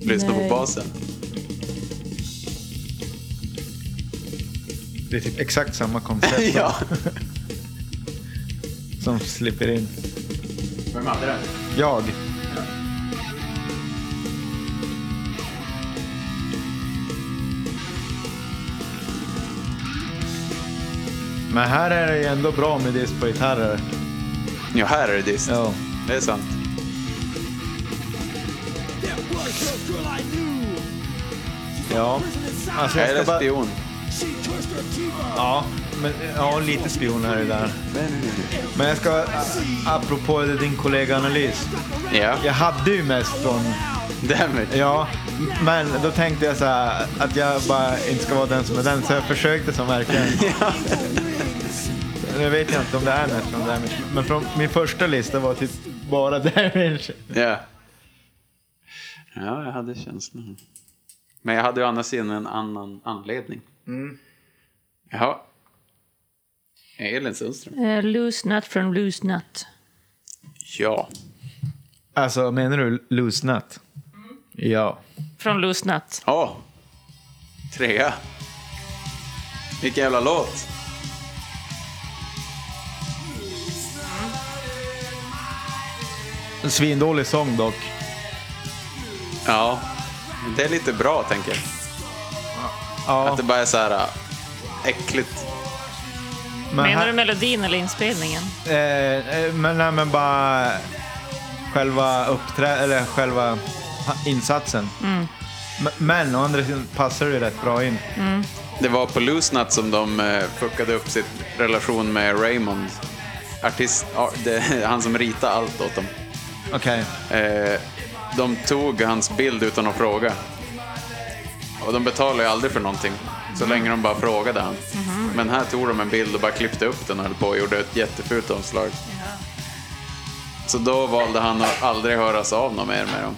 B: Lyssna på
D: Nej.
B: basen.
C: Det är typ exakt samma koncept
B: ja.
C: som Slipper In.
B: Vem hade den?
C: Jag. Men här är det ju ändå bra med diss på gitarrer.
B: Ja, här är det dist.
C: Ja.
B: Det är sant.
C: Ja. Alltså jag
B: Är
C: ska
B: det
C: bara...
B: spion?
C: Ja, men, ja lite spion är det där. Men jag ska, apropå din kollega-analys.
B: Ja.
C: Jag hade ju mest från
B: Damn it.
C: Ja, men då tänkte jag så här att jag bara inte ska vara den som är den, så jag försökte som verkligen. Nu vet jag inte om det är mest från Damage, men från min första lista var typ bara Damage.
B: Ja. Ja, jag hade känslan. Men jag hade ju å andra sidan en annan anledning.
C: Mm.
B: Jaha. Elin Sundström.
D: Eh, loose Nut från Loose Nut.
B: Ja.
C: Alltså, menar du Loose Nut?
B: Mm.
C: Ja.
D: Från Loose Nut.
B: Ja. Trea. Vilken jävla låt.
C: En svindålig sång dock.
B: Ja, men det är lite bra tänker jag.
C: Ja,
B: Att det bara är så här äh, äckligt.
C: men
D: Menar
C: här-
D: du melodin eller inspelningen?
C: Eh, eh, men, nej, men bara själva uppträ... eller själva ha- insatsen.
D: Mm.
C: M- Men å andra sidan passar det rätt bra in.
B: Det var på Loose Nut som de eh, fuckade upp sin relation med Raymond. Artist, ja, det, han som ritade allt åt dem.
C: Okej.
B: Eh, de tog hans bild utan att fråga. Och de betalade ju aldrig för någonting. Så länge de bara frågade han. Men här tog de en bild och bara klippte upp den och höll på och gjorde ett jättefult omslag. Så då valde han att aldrig höras av något mer med dem.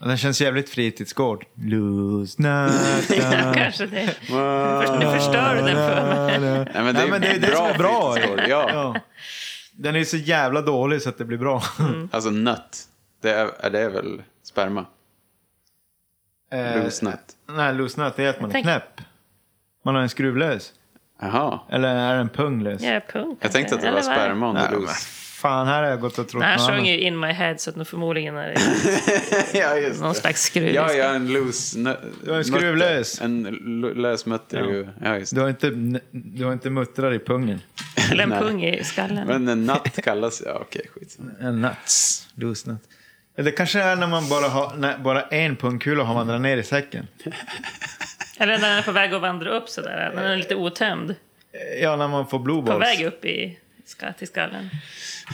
C: Ja, Den känns jävligt fritidsgård. Loose night.
D: Kanske det. Nu förstör du den för
B: Nej,
D: mig.
B: men det
C: Nej,
B: är
C: men det är
B: ju
C: det som är bra.
B: fritidsgård, Ja.
C: Ja. Den är så jävla dålig så att det blir bra.
D: Mm.
B: Alltså nött. Det är, är det väl sperma?
C: Eh,
B: Loose nut.
C: Nej, loose nut det är att man är
D: tänk-
C: knäpp. Man har en skruvlös.
B: Jaha.
C: Eller är en pung lös?
D: Ja, punkt.
B: Jag tänkte att det
D: Eller
B: var
D: vad är
B: sperma om det
C: Nej,
B: är
C: men
B: loose.
C: Fan, här har jag gått och trott
D: Nej, han
C: något
D: sjöng
C: annat.
D: ju In My Head så att nog förmodligen är det
B: ja, just
D: någon slags skruv.
B: Ja, ja, en loose nö-
C: Du har en
B: mötter.
C: skruvlös.
B: En l- lös mötter
C: Ja.
B: ju. Ja, just
C: Du har inte, du har inte muttrar i pungen.
D: Eller en
B: Nej.
D: pung i skallen.
B: Men en natt kallas... Ja, okej, skit.
C: En nuts. Loose nut. Eller Det kanske är när man bara har när bara en pungkula har vandrat ner i säcken.
D: Eller när den är på väg att vandra upp sådär. När den är lite otömd.
C: Ja, när man får blue
D: På
C: balls.
D: väg upp i, ska- till skallen.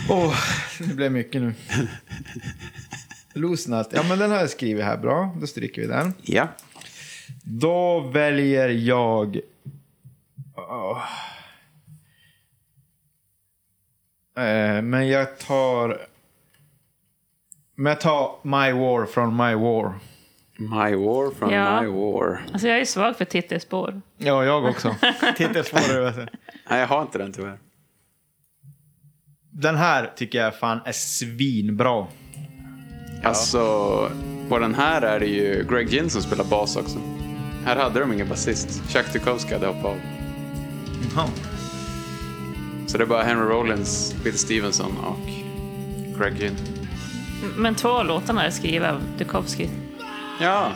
C: Åh, det blev mycket nu. Loose nut. Ja, men den har jag skrivit här. Bra, då stryker vi den.
B: Ja.
C: Då väljer jag... Åh. Eh, men jag tar... Men jag tar My War från My War.
B: My war from
D: Ja.
B: my war.
D: Alltså jag är svag för titelspår.
C: Ja, jag också. Titta svårare.
B: Nej, jag har inte den tyvärr.
C: Den här tycker jag fan är svinbra.
B: Alltså, på den här är det ju Greg Ginn som spelar bas också. Här hade de ingen basist. Chuck Dukowski hade hoppat av.
C: Ja.
B: Så det är bara Henry Rollins, Bill Stevenson och Greg Ginn.
D: M- Men två av låtarna är skrivna av Dukowski.
B: Ja.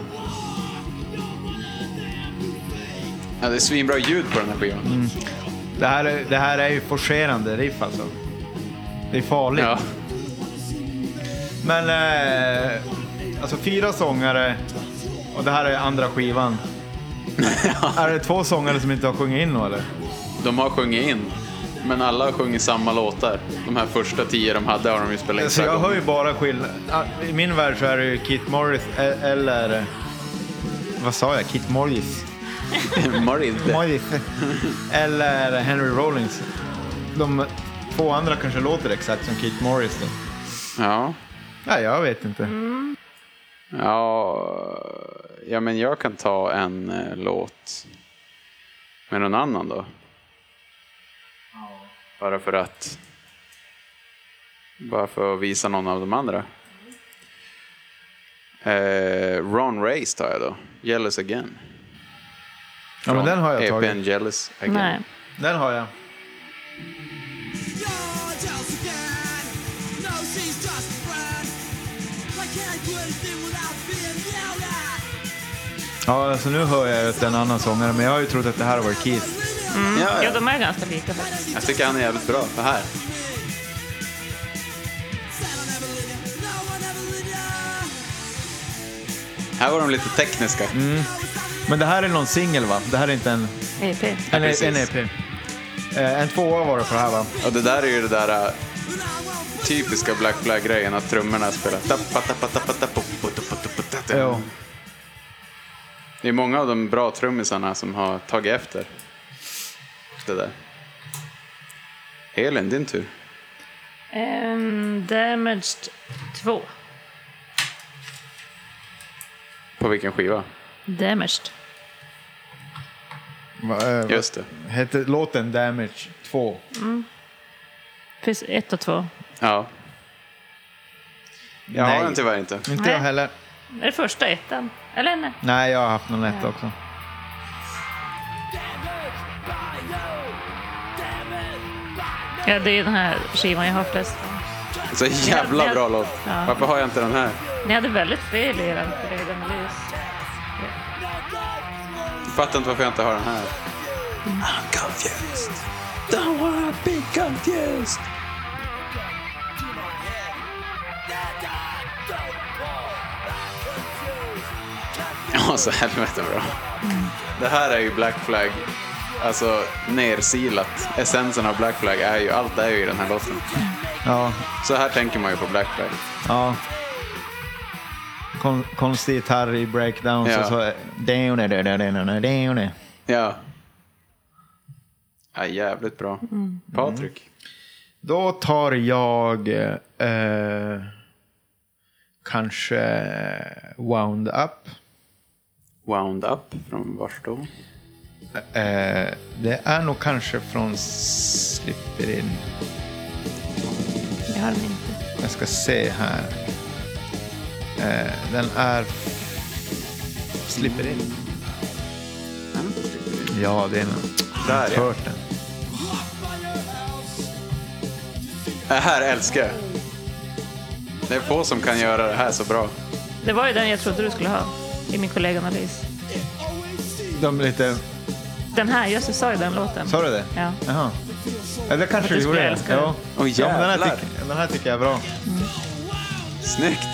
B: Ja, det är svinbra ljud på den här skivan.
C: Det, här är, det här är ju forcerande riff alltså. Det är farligt.
B: Ja.
C: Men eh, alltså fyra sångare och det här är andra skivan. Är det två sångare som inte har sjungit in då eller?
B: De har sjungit in, men alla har sjungit samma låtar. De här första tio de hade Alltså, har de ju spelat in.
C: Så
B: flera
C: Alltså, jag
B: gånger.
C: hör ju bara skillnad. Ah, I min värld så är det ju Kit Morris e- eller... Vad sa jag? Kit Morris?
B: Marilde.
C: Morris. eller Henry Rollins. De två andra kanske låter exakt som Kit Morris då.
B: Ja.
C: Nej, jag vet inte.
B: ja. Ja, men jag kan ta en eh, låt med någon annan då. Bara för att... Bara för att visa någon av de andra. Eh, Ron Race tar jag då. Jealous again.
C: Ja, men
B: Från
C: den har jag
B: EPn
C: tagit.
B: Jealous again.
D: Nej.
C: Den har jag. Ja, alltså nu hör jag ju att det är en annan sångare, men jag har ju trott att det här var Keith.
B: Ja,
D: Ja,
B: ja.
D: de är ganska lika faktiskt.
B: Jag tycker han är jävligt bra. Det här. Här var de lite tekniska.
C: Mm. Men det här är någon singel va? Det här är inte en...
D: EP.
C: En,
B: precis.
C: en EP. Eh, en tvåa var det för det här va?
B: Och det där är ju det där äh, typiska Black Flag-grejen att trummorna spelar. tappa, tappa, tappa, tappa, tappa, tappa, tappa, tappa.
C: Jo.
B: Det är många av de bra trummisarna som har tagit efter det där. Elin, din tur.
D: Ehm, damaged 2.
B: På vilken skiva?
D: Damaged.
C: Va, eh, vad
B: Just det.
C: Hette låten Damage 2?
D: Finns ett och två.
B: Ja. Jag
C: Nej.
B: har den tyvärr inte.
C: Inte
D: Nej.
C: jag heller.
D: Är det första ettan? Eller nej?
C: Nej, jag har haft någon etta också.
G: Damaged by no, damaged by no.
D: Ja, det är den här skivan jag har flest.
B: Så jävla bra låt.
D: Ja.
B: Varför har jag inte den här?
D: Ni hade väldigt fel i den kollega med ljus.
B: Jag fattar inte varför jag inte har den här. Ja, så helvete bra. Det här är ju Black Flag. Alltså, nersilat. Essensen av Black Flag är ju, allt är ju i den här låten.
C: Ja,
B: Så här tänker man ju på Black Flag.
C: ja. Kon, konstig gitarr i breakdowns
B: Ja.
C: och så... är-
B: Ja. ja jävligt bra. Patrik.
C: Då tar jag eh, kanske Wound Up.
B: Wound Up från vars då?
C: Eh, det är nog kanske från Slipper In.
D: Jag har den inte.
C: Jag ska se här. Eh, den är... Slipper In. Ja, det är den. Jag har
B: Där
C: inte
B: ja.
C: hört den.
B: Det här älskar jag. Det är få som kan göra det här så bra.
D: Det var ju den jag trodde du skulle ha i min kolleganalys.
C: De är lite...
D: Den här, just du sa ju den låten.
C: Sa du det?
D: Ja.
C: Jaha. Eller kanske
D: Jag
C: du
D: skulle
C: gjorde det.
D: älska det.
B: Åh,
C: ja, men den, här
B: jävlar.
C: tycker, den här tycker jag är bra.
B: Snyggt!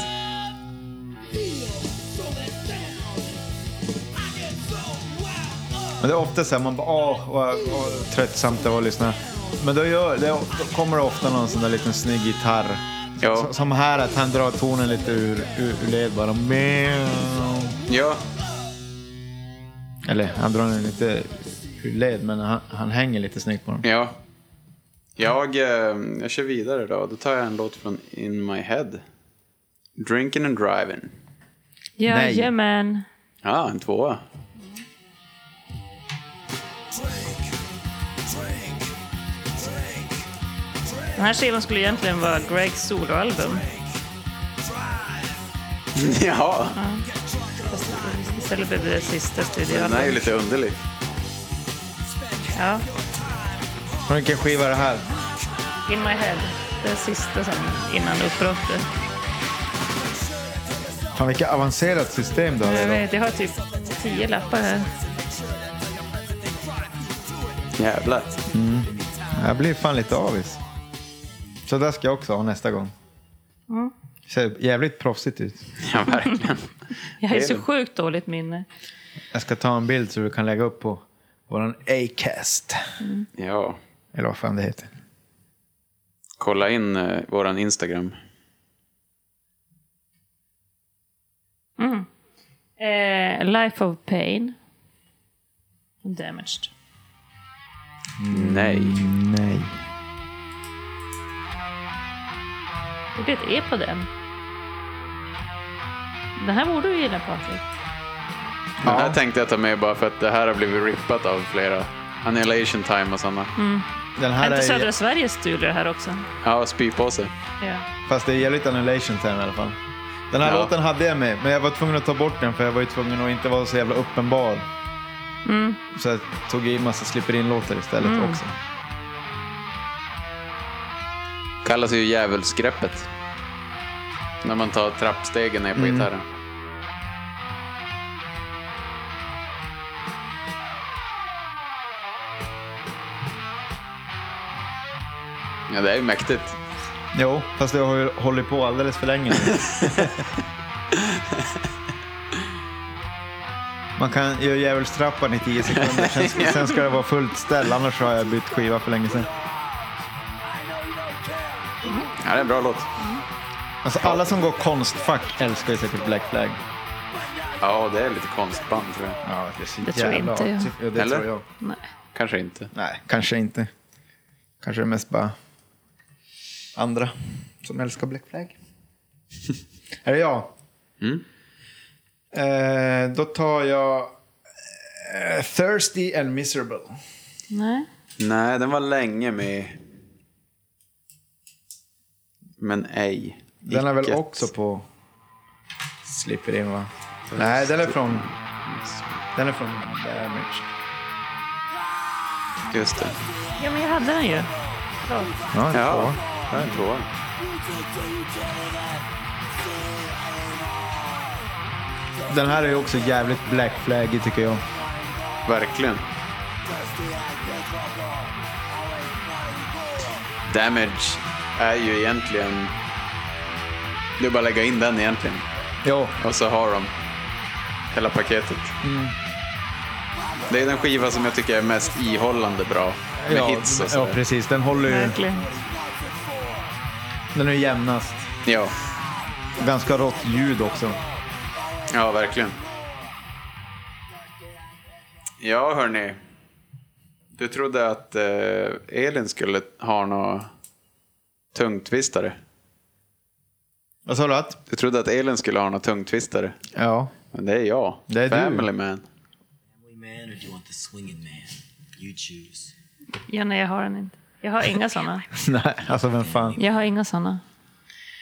C: Men det är ofta så här, man bara åh, vad, vad tröttsamt det var att lyssna. Men då, gör, det, då kommer det ofta någon sån där liten snygg gitarr.
B: Ja.
C: Som, som här att han drar tonen lite ur, ur, ur led bara. Meow.
B: Ja,
C: Eller han drar den lite ur led men han, han hänger lite snyggt på den.
B: ja. Jag, eh, jag kör vidare då. Då tar jag en låt från In My Head. Drinking and Driving.
D: Jajamän.
B: Ja, en tvåa.
D: Den här skivan skulle egentligen vara Gregs soloalbum.
B: ja,
D: Fast Istället blev det det sista
B: den här är ju
D: studioalbumet.
B: lite underlig.
D: Ja.
C: Från vilken skiva är det här?
D: In My Head. Det sista som innan uppbrottet.
C: Fan vilket avancerat system du har
D: Jag
C: idag.
D: vet, jag har typ tio lappar här.
B: Jävlar.
C: Jag blir fan lite avis. Så där ska jag också ha nästa gång. Ser jävligt proffsigt ut.
B: Ja, verkligen.
D: Jag har ju
B: Det är
D: så
B: det.
D: sjukt dåligt minne.
C: Jag ska ta en bild så du kan lägga upp på våran Acast.
B: Ja,
C: Eller vad fan det heter.
B: kolla in eh, våran Instagram.
D: Eh, Life of Pain. Damaged.
B: Nej.
C: Nej.
D: Det blir ett E på den. Det här borde du gilla Patrik.
B: Den här tänkte jag ta med bara för att det här har blivit rippat av flera. Annihilation time och sådana.
C: Den
D: Är
C: här
D: inte
C: är,
D: södra Sverige stuler det här också?
B: Ja, spypåse.
D: Ja.
C: fast det är jävligt annihilation time i alla fall. Den här
B: Ja.
C: låten hade jag med, men jag var tvungen att ta bort den för jag var ju tvungen att inte vara så jävla uppenbar. Så jag tog i massa slipper in-låtar istället också.
B: Kallas ju djävulsgreppet. När man tar trappstegen ner på gitarren. Ja, det är ju mäktigt.
C: Jo, fast jag har ju hållit på alldeles för länge. Man kan göra djävulstrappan i tio sekunder, sen, sen ska det vara fullt ställ, annars har jag bytt skiva för länge sedan.
B: Ja, det är en bra låt.
C: Alltså alla som går konstfack älskar ju säkert Black Flag.
B: Ja, det är lite konstband tror jag.
C: Ja, det är så
D: Det tror
C: jävla
D: inte jag.
C: artigt. Ja, det
B: Eller?
C: tror jag.
D: Nej.
B: Kanske inte.
C: Nej, kanske inte. Kanske det är mest bara andra som älskar Black Flag. är det jag?
B: Mm.
C: Eh, då tar jag eh, Thirsty and Miserable.
D: Nej.
B: Nej, den var länge med. Men ej.
C: Den är väl
B: Icket.
C: också på Slipper In va? Nej, den är från... Den är från Damage.
B: Just det.
D: Ja, men jag hade den ju.
C: Ja,
B: Ja,
C: ja.
B: det är en tvåa.
C: Den här är ju också jävligt black flag tycker jag.
B: Verkligen. Damage är ju egentligen... Det är bara att lägga in den egentligen.
C: Ja,
B: Och så har de hela paketet.
C: Mm.
B: Det är den skiva som jag tycker är mest ihållande bra. Med
C: ja,
B: hits och
C: ja
B: sådär.
C: precis. Den håller ju.
D: Verkligen.
C: Den är jämnast.
B: Ja,
C: Ganska rått ljud också.
B: ja, verkligen. Ja, hörni. Du trodde att eh, Elin skulle ha något tungtvistare.
C: Vad sa du att?
B: Du trodde att Elin skulle ha något tungtvistare.
C: Ja.
B: Men det är jag.
C: Det är du.
B: Family man.
E: Man or do you want the swinging man? You choose.
D: Ja, nej, jag har den inte. Jag har inga sådana.
C: Nej, alltså vem fan,
D: Jag har inga sådana.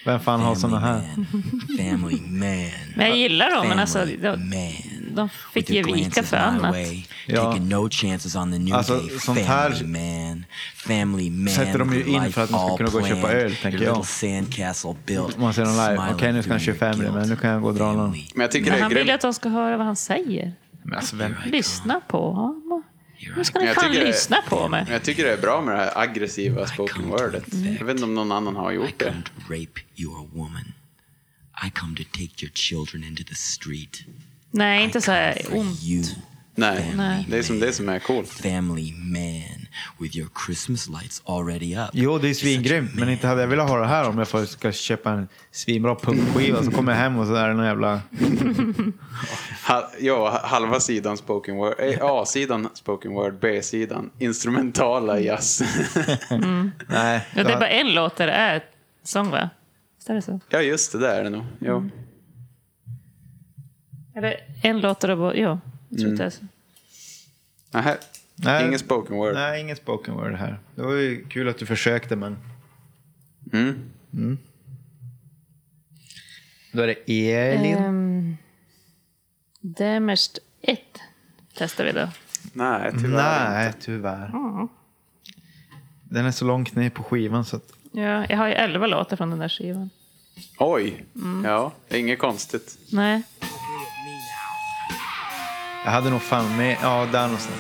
C: vem fan har såna här?
E: Family man.
D: Men jag gillar dem, men alltså,
E: Family
D: de,
E: man.
D: de fick ge vika för annat.
C: Ja.
E: Taking no chances on the new
C: Alltså,
E: day.
C: sånt här
E: family man, family man.
C: sätter de ju
E: with
C: in
E: life
C: för att man ska
E: all
C: kunna gå och köpa
E: planned,
C: öl, tänker
E: your
C: jag.
E: little sandcastle built,
C: Man ser dem live.
E: smiling
C: Okej, nu ska han
E: through
C: köra
E: your
C: Family Man.
E: guilt.
C: Nu kan jag gå och dra någon.
E: Family.
B: Men jag tycker
D: Men
B: det är
D: han vill ju
B: grymt.
D: att de ska höra vad han säger.
C: Men alltså vem?
D: Lyssna på honom. Nu ska ni
B: Jag
D: fan
B: tycker det-
D: lyssna på mig.
B: Men jag tycker det är bra med det här aggressiva spoken wordet. Jag vet inte om någon annan har
E: I
B: gjort det.
E: come to rape your woman. I come to take your children into the street.
D: Nej, inte så
E: I
D: här
E: come for
D: ont.
E: you,
B: Nej,
D: Nej.
B: det är som det som är coolt.
E: family man, with your Christmas lights already up.
C: Jo, det är svingrymt, men inte hade jag velat ha det här om jag får- ska köpa en svinbra punkskiva. Så kommer jag hem och så är det någon jävla...
B: Ha, ja, halva sidan spoken word. eh, A-sidan spoken word, B-sidan instrumentala jazz.
C: Nej.
D: Ja, det är
C: då-
D: bara en låt där det är sång, va? Visst är det så?
B: ja, just det där är det nog. Jo.
D: Mm. Eller en låt där det bara... Ja, jag
C: Mm.
D: tror inte det är så.
B: Nähä.
C: Nej.
B: Ingen spoken word.
C: Nej, ingen spoken word här. Det var ju kul att du försökte, men... Mm. Då är det Elin.
D: Ehm, Damaged 1 testar vi då.
B: Nej, tyvärr
C: Nej,
B: inte.
C: tyvärr. Den är så långt ner på skivan så att...
D: Ja, jag har ju 11 låtar från den där skivan.
B: Oj.
D: Mm.
B: Ja, det är inget konstigt.
D: Nej.
C: Jag hade nog fan med... Ja, där någonstans.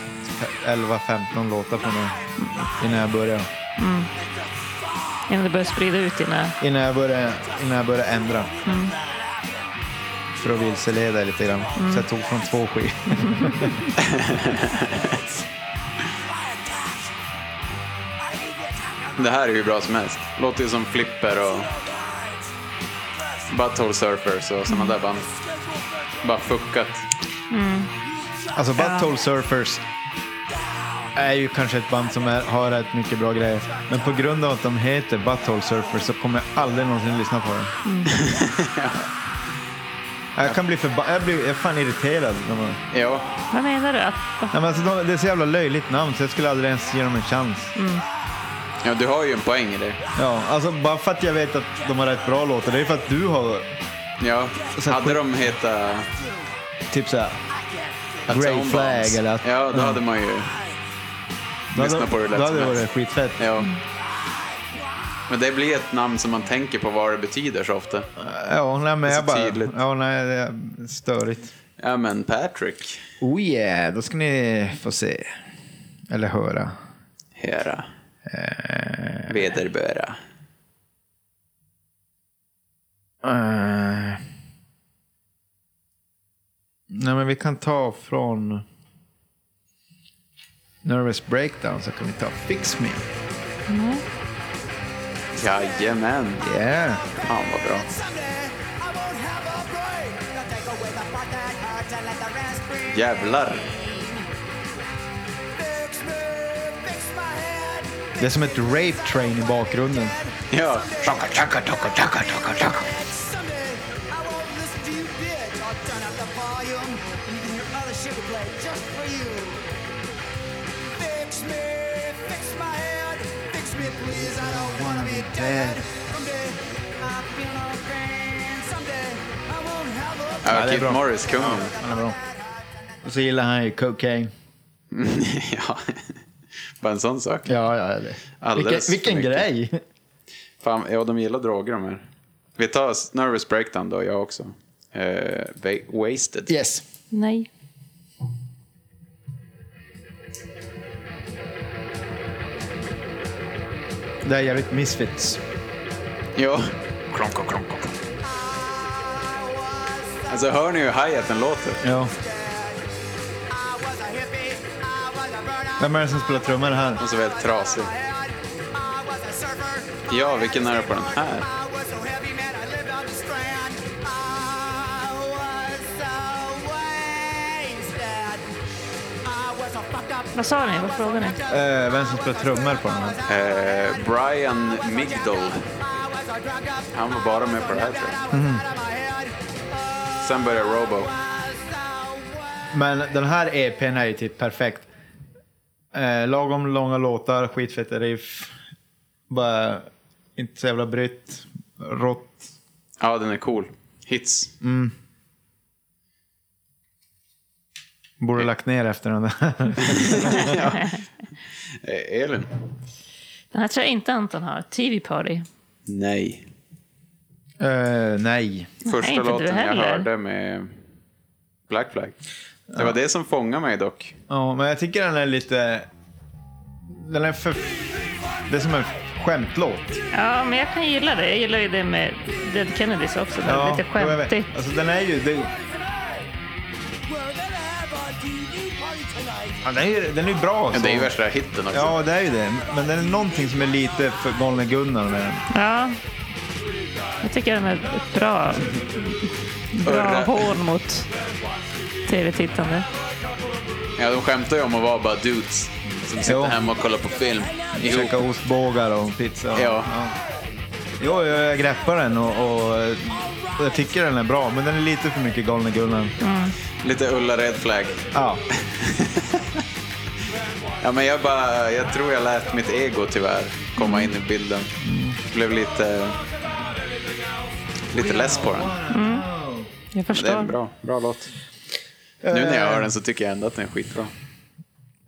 C: 11-15 låtar på mig innan jag började.
D: Innan du börjar sprida ut dina...
C: Innan jag började, innan jag började ändra. För att vilseleda er lite grann. Så jag tog från två skivor.
B: Det här är ju bra som helst. Låter ju som Flipper och Butthole Surfers och sådana där band. Bara fuckat.
C: Alltså Butthole Surfers är ju kanske ett band som är, har rätt mycket bra grejer. Men på grund av att de heter Butthole Surfers så kommer jag aldrig någonsin lyssna på dem. Jag kan bli förbannad. Jag blir jag är fan irriterad. När man...
B: Ja,
D: Vad menar du? Att,
C: Nej, men alltså, de, det är så jävla löjligt namn så jag skulle aldrig ens ge dem en chans.
B: ja, du har ju en poäng i det.
C: Ja, alltså bara för att jag vet att de har rätt bra låtar. Det är för att du har
B: Ja,
C: Så att-
B: hade de heta...
C: typ såhär Grey
B: Town
C: Flag
B: Bombs.
C: eller att...
B: Ja, då hade man ju...
C: Då hade-
B: lyssnat på det lätt
C: Då hade det
B: som
C: varit
B: helst.
C: skitfett.
B: Ja. Men det blir ett namn som man tänker på vad det betyder så ofta.
C: Ja, nej, men
B: är
C: jag
B: så
C: bara...
B: tydligt.
C: Ja, nej, det är störigt.
B: Ja, men Patrick.
C: Oh yeah, då ska ni få se. Eller höra.
B: Hera. Vederböra.
C: Eh. Nej, men vi kan ta från Nervous Breakdown så kan vi ta Fix Me.
B: Jajamän.
C: Yeah.
B: Fan vad bra. Jävlar.
C: Det är som ett rape train i bakgrunden.
B: Ja.
F: Just for you. Fix me, fix my head, fix me please. I don't wanna be dead. Someday I feel no pain. Someday I won't have a
B: Ja,
C: det är
B: Keith
C: bra.
B: Morris, kungen.
C: Han är bra. Och så gillar han ju cocaine.
B: Ja. Bara en sån sak.
H: Ja, ja. Det. Vilken,
B: Alldeles för
H: vilken
B: mycket.
H: grej.
B: Fan, ja, de gillar droger de här. Vi tar s- Nervous Breakdown då, jag också. Eh, wa- wasted.
H: Yes.
D: Nej.
C: Det är jävligt misfits.
B: Ja. Alltså hör ni hur hi-haten låter?
C: Ja. Vem är det som spelar trummor här?
B: Och så väldigt trasig. Ja, vilken är det på den här?
D: Vad sa ni? Vad frågade ni?
C: Eh, vem som spelar trummor på den här?
B: Eh, Brian Migdal. Han var bara med på det här tror jag.
C: Mhm.
B: Sen började Robo.
C: Men den här EPn är ju typ perfekt. Eh, lagom långa låtar, skitfeta riff. Bara inte så jävla brytt. Rått.
B: Ja, den är cool. Hits.
C: Borde lagt ner efter den där.
B: Eh, Elin?
D: Den här tror jag inte Anton har. TV Party.
B: Nej.
C: Eh, nej.
B: Första
D: inte du
B: låten jag
D: heller.
B: hörde med Black Flag. Det var det som fångade mig dock.
C: Ja, men jag tycker den är lite... Den är för... Det är som en skämtlåt.
D: Ja, men jag kan gilla det. Jag gillar ju det med Dead Kennedys också. Det är lite
C: jo, jag vet.
D: skämtigt.
C: Alltså den är ju... Det, ja, den är ju den är ju bra.
B: Men
C: så.
B: det är ju värsta hitten också.
C: Ja, det är ju det. Men det är någonting som är lite för galne Gunnar med den.
D: Ja. Jag tycker den är ett bra, bra
B: Örre.
D: hån mot tv-tittande.
B: Ja, de skämtar ju om att vara bara dudes som sitter
C: Jo.
B: hemma och kollar på film ihop.
C: Käka ostbågar och pizza. Och,
B: Ja.
C: Jo, jag, jag greppar den och, och eh, jag tycker den är bra, men den är lite för mycket galne Gunnar.
B: Lite Ulla Red Flag.
C: Ja.
B: Ja, men jag, bara, jag tror jag lät mitt ego tyvärr komma in i bilden. Blev lite, lite less på den.
D: Jag
B: Det är en
D: förstår.
B: bra, bra låt. Eh. Nu när jag hör den så tycker jag ändå att den är skitbra.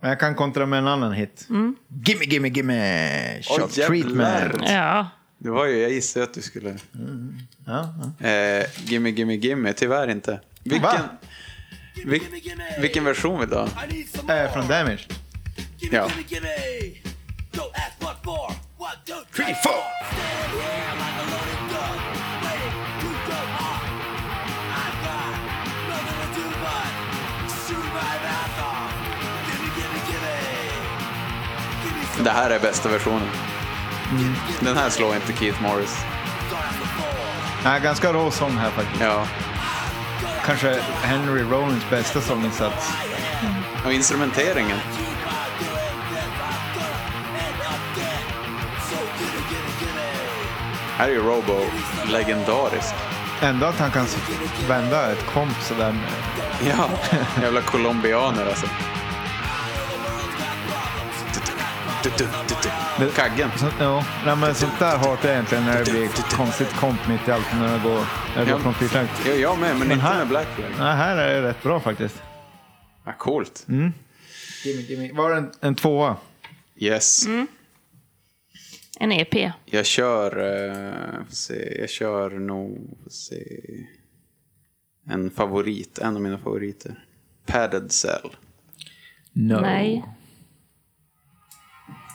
C: Men jag kan kontra med en annan hit. Gimme, gimme, gimme! Shot
B: Oj, jävlar.
C: treatment.
D: Ja.
B: Det var ju, jag gissade att du skulle...
C: Ja, ja.
B: Eh, gimme, gimme, gimme. Tyvärr inte. Vilken,
C: Va?
B: vil, vilken version vill du ha?
C: Eh, från Damage.
B: Ja.
F: Three, four.
B: Det här är bästa versionen. Den här slår inte Keith Morris.
C: Nej, ganska rå sång här faktiskt.
B: Ja.
C: Kanske Henry Rollins bästa sånginsats.
B: Och instrumenteringen. Här är ju Robo legendarisk.
C: Ändå att han kan vända ett komp sådär. med-
B: Ja, jävla colombianer alltså. Kaggen.
C: Så, ja, nej, men sånt där hatar jag egentligen när det blir ett konstigt komp mitt i allt när det går, när det
B: Ja.
C: går från fyrtakt.
B: Jo, jag med, men inte
C: här-
B: med Black Flag.
C: Nej, här är det rätt bra faktiskt.
B: Ja, coolt.
C: Var det en, en tvåa?
B: Yes.
D: En E EP.
B: Jag kör... eh, får se, jag kör nog... får Se, en favorit. En av mina favoriter. Padded Cell.
C: No.
D: Nej.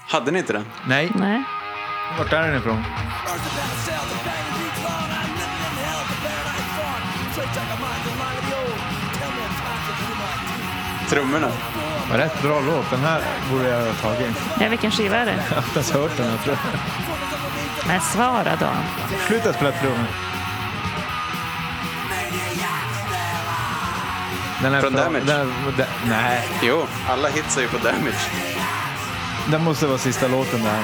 B: Hade ni inte den?
C: Nej.
D: Nej.
C: Vart är den ifrån?
B: Trummorna.
C: Rätt bra låt. Den här borde jag ha tagit.
D: Ja, vilken skiva är
C: Jag
D: det?
C: har inte ens hört den. här, tror jag.
D: Men svara då.
C: Sluta spela trummor. Den är
B: Från
C: bra.
B: Damage?
C: Den, den, nej,
B: Jo, alla hits är ju på Damage.
C: den måste vara sista låten där.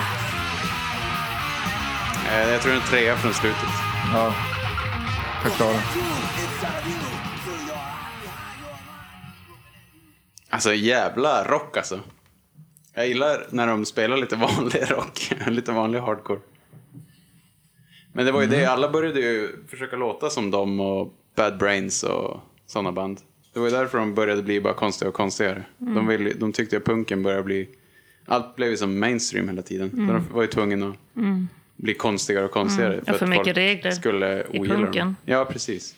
B: Eh, Jag tror den är trea från slutet.
C: Ja. Förklara.
B: Alltså jävla rock alltså. Jag gillar när de spelar lite vanlig rock. lite vanlig hardcore. Men det var ju det,
D: Mm.
B: alla började ju försöka låta som dem och Bad Brains och sådana
D: Mm.
B: band. Det var ju därför de började bli bara konstiga och konstigare. De, ville, de tyckte att punken började bli Allt blev ju som mainstream hela tiden. Så De var ju tvungna att bli konstigare och konstigare.
D: Mm. Ja, för
B: att
D: mycket
B: folk
D: regler
B: skulle
D: i
B: ogilla
D: punken.
B: dem. Ja, precis.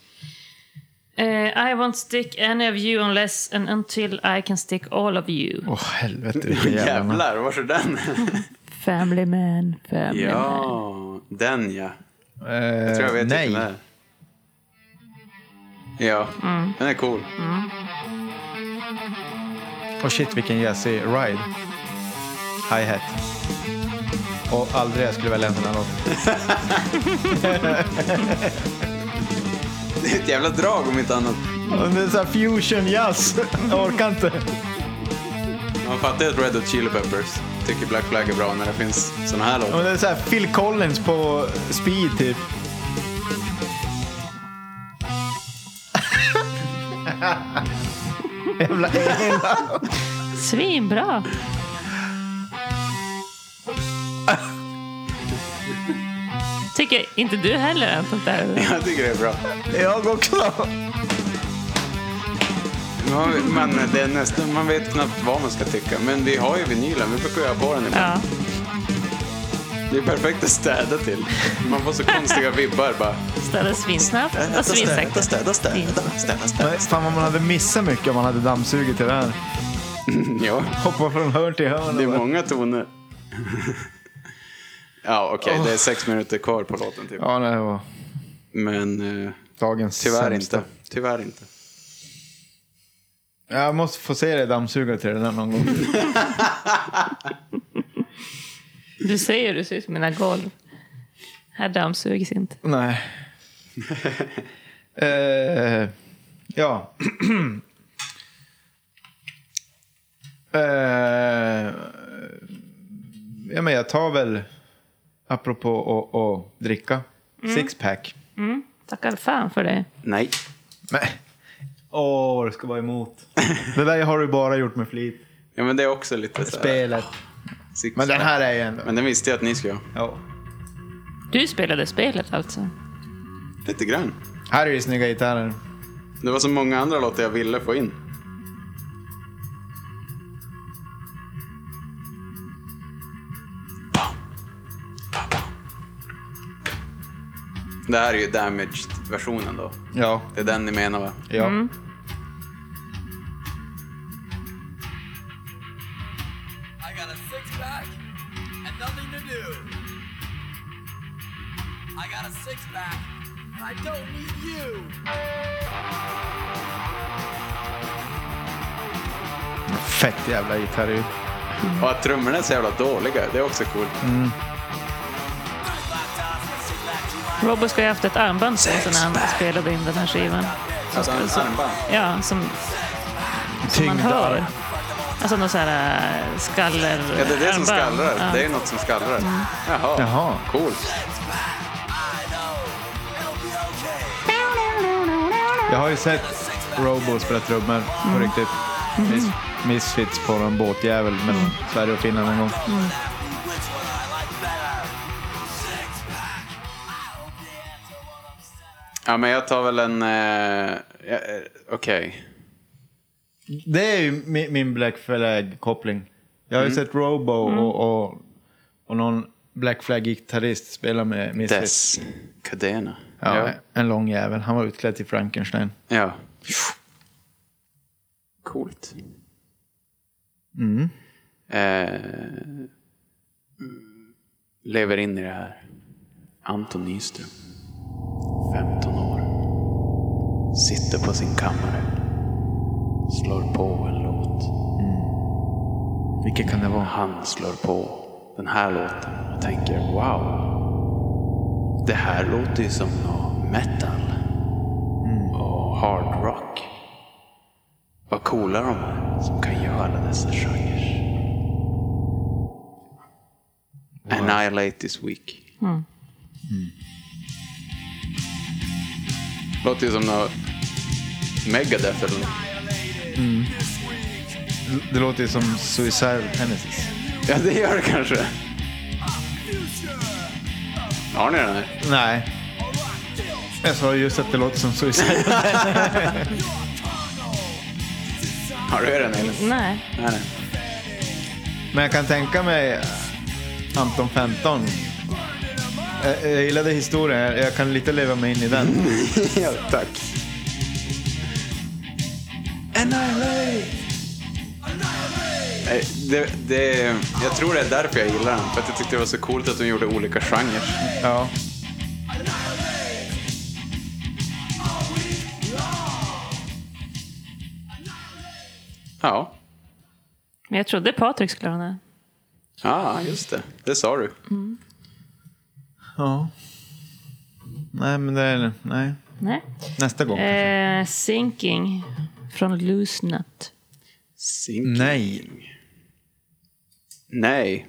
D: Eh, I won't stick any of you unless and until I can stick all of you.
C: Åh helvete, de jävlarna.
B: Jävlar, var är den?
D: Family man, family man.
B: ja, den ja.
C: Eh,
B: Jag tror jag vet vilken det
C: nej.
B: är. Ja, den är cool.
C: Och Oh, shit vilken jäsig ride. Hi-hat. Och aldrig jag skulle välja en sån här låt.
B: Det är ett jävla drag om inte annat.
C: Och Det är såhär fusion jazz. Jag orkar inte.
B: Man fattar ju att Red Hot Chili Peppers tycker Black Flag är bra när det finns såna här
C: Och
B: låtar.
C: det är såhär Phil Collins på speed typ. Jävla änglar.
D: Svinbra! Tycker inte du heller att sånt där är
B: Jag tycker det är bra.
C: Jag också.
B: Man, man, det är nästan, man vet knappt vad man ska tycka. Men vi har ju vinylen, vi brukar ju ha på den ibland.
D: Ja.
B: Det är perfekt att städa till. Man får så konstiga vibbar bara.
D: Städa svinsnabbt och svinsäkert.
B: städa, städa, städa, städa.
C: Nej, Fan vad man hade missat mycket om man hade dammsugit till det här.
B: Ja,
C: Hoppa från hörn till hörn.
B: det är många toner. Ja, okej, det är sex minuter kvar på låten typ.
C: Ja, det var
B: Men eh,
C: dagens
B: tyvärr
C: sämsta.
B: inte. Tyvärr inte.
C: Jag måste få se dig dammsuga till det där någon gång.
D: Du säger du ser ut som mina golv. Här dammsugs inte.
C: Nej. Eh, ja. Eh, ja, men jag tar väl, apropå att att dricka,
D: Mm.
C: sixpack.
D: Tackar fan för det.
B: Nej.
C: Nej. Åh, det ska vara emot. Det där har du bara gjort med flit.
B: Ja, men det är också lite så här,
C: Spelet.
B: six-
C: Men den här är ju ändå...
B: Men den visste jag att ni skulle ha.
C: Ja.
D: Du spelade spelet alltså?
B: Lite grann.
C: Här är ju snygga gitarrer.
B: Det var så många andra låtar jag ville få in. Det här är ju damaged-versionen då.
C: Ja.
B: Det är den ni menar va?
C: Ja.
D: Mm.
F: I got a six pack and nothing to do. I got a six pack and I don't need you.
C: Fett jävla gitarrljud.
B: Och att trummorna är så jävla dåliga, det är också coolt.
C: Mm.
D: Robbo ska ju ha haft ett armband på sig när han spelade in den här skivan.
B: Alltså, en armband.
D: Ja, som, som man hör. Alltså någon sån här äh, skaller...
B: Ja, det är det som
D: armband.
B: skallrar.
D: Ja. Mm.
B: Det är något som skallrar. Jaha,
C: Jaha.
B: coolt.
C: Jag har ju sett Robo spela trummor på riktigt. Miss, misfits på en båtjävel mellan Sverige och Finland en gång.
B: Ja, men jag tar väl en... Eh, ja, eh, Okej.
C: Det är ju min, min Black Flag-koppling. Jag har ju sett Robo och, och, och någon Black Flag-gitarrist spela med Misfits.
B: Des Cadena.
C: Ja, En lång jävel. Han var utklädd till Frankenstein.
B: Ja. Coolt. Eh, lever in i det här. Anton Nyström. 15 år. Sitter på sin kammare. Slår på en låt.
C: Vilket kan det vara?
B: Han slår på den här låten och tänker wow. Det här låter ju som nå metal. Och hard rock. Vad coola de är som kan göra alla dessa genrer. Annihilate this week. Låter ju som nå Megadeth eller något.
C: Det låter ju som Suicide Tennis.
B: Ja, det gör det kanske. Har ni den här?
C: Nej. Jag sa just att det låter som Suicide
B: Har du den Elin?
D: Nej.
B: Nej.
C: Men jag kan tänka mig Anton 15. Jag, jag gillade historien, jag, jag kan lite leva mig in i den.
B: ja, tack. Annihilate! Nej, Det, det, jag tror det är därför jag gillar den. För att jag tyckte det var så coolt att de gjorde olika genrer.
C: Ja.
B: Ja,
D: Men jag trodde Patrik skulle ha den här.
B: ah, just det. Det sa du.
C: ja. Nej, men det är Nej.
D: Nej.
C: Nästa gång. kanske.
D: Eh, sinking från Loose Nut.
B: Sinking.
C: Nej.
B: Nej.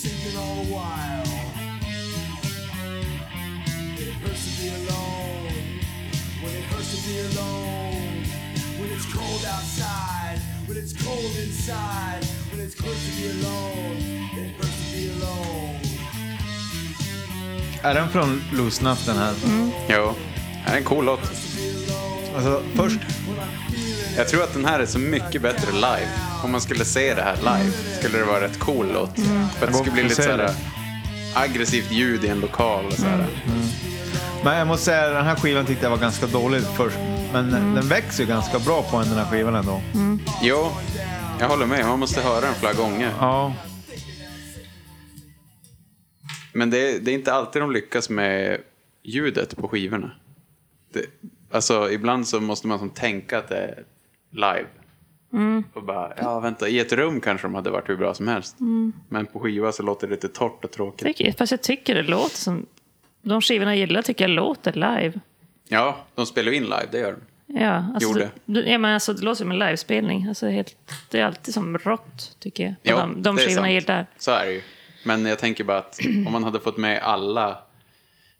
F: sinking all the while. It hurts to be alone. When it hurts to be alone. When it's cold outside. When it's cold inside. When it's close to be alone. It hurts to be alone.
C: Är den från Loose Nut den här?
B: Jo. Det är en cool låt.
C: Alltså, först.
B: Jag tror att den här är så mycket bättre live. Om man skulle se det här live skulle det vara rätt cool låt. För att det skulle bli lite
C: Jag ser
B: såhär
C: det. Mm.
B: aggressivt ljud i en lokal och sådär.
C: Men jag måste säga, den här skivan tyckte jag var ganska dålig först. Men den växer ju ganska bra på en, den här skivan ändå.
B: Jo, jag håller med. Man måste höra den flera gånger.
C: Ja.
B: Men det är, det är inte alltid de lyckas med ljudet på skivorna. Det, alltså ibland så måste man som tänka att det är live. Och bara, ja vänta, i ett rum kanske de hade varit hur bra som helst. Men på skiva så låter det lite torrt och tråkigt.
D: Tycker- Fast jag tycker det låter som... De skivorna jag gillar tycker jag låter live.
B: Ja, de spelar ju in live, det gör de.
D: Ja, alltså,
B: Gjorde.
D: Det, ja, men alltså, det låter som en livespelning. Alltså, helt, det är alltid som rått, tycker jag.
B: Jo,
D: Ja, de de
B: det är
D: skivorna jag
B: sant.
D: gillar.
B: Så är det ju. Men jag tänker bara att om man hade fått med alla,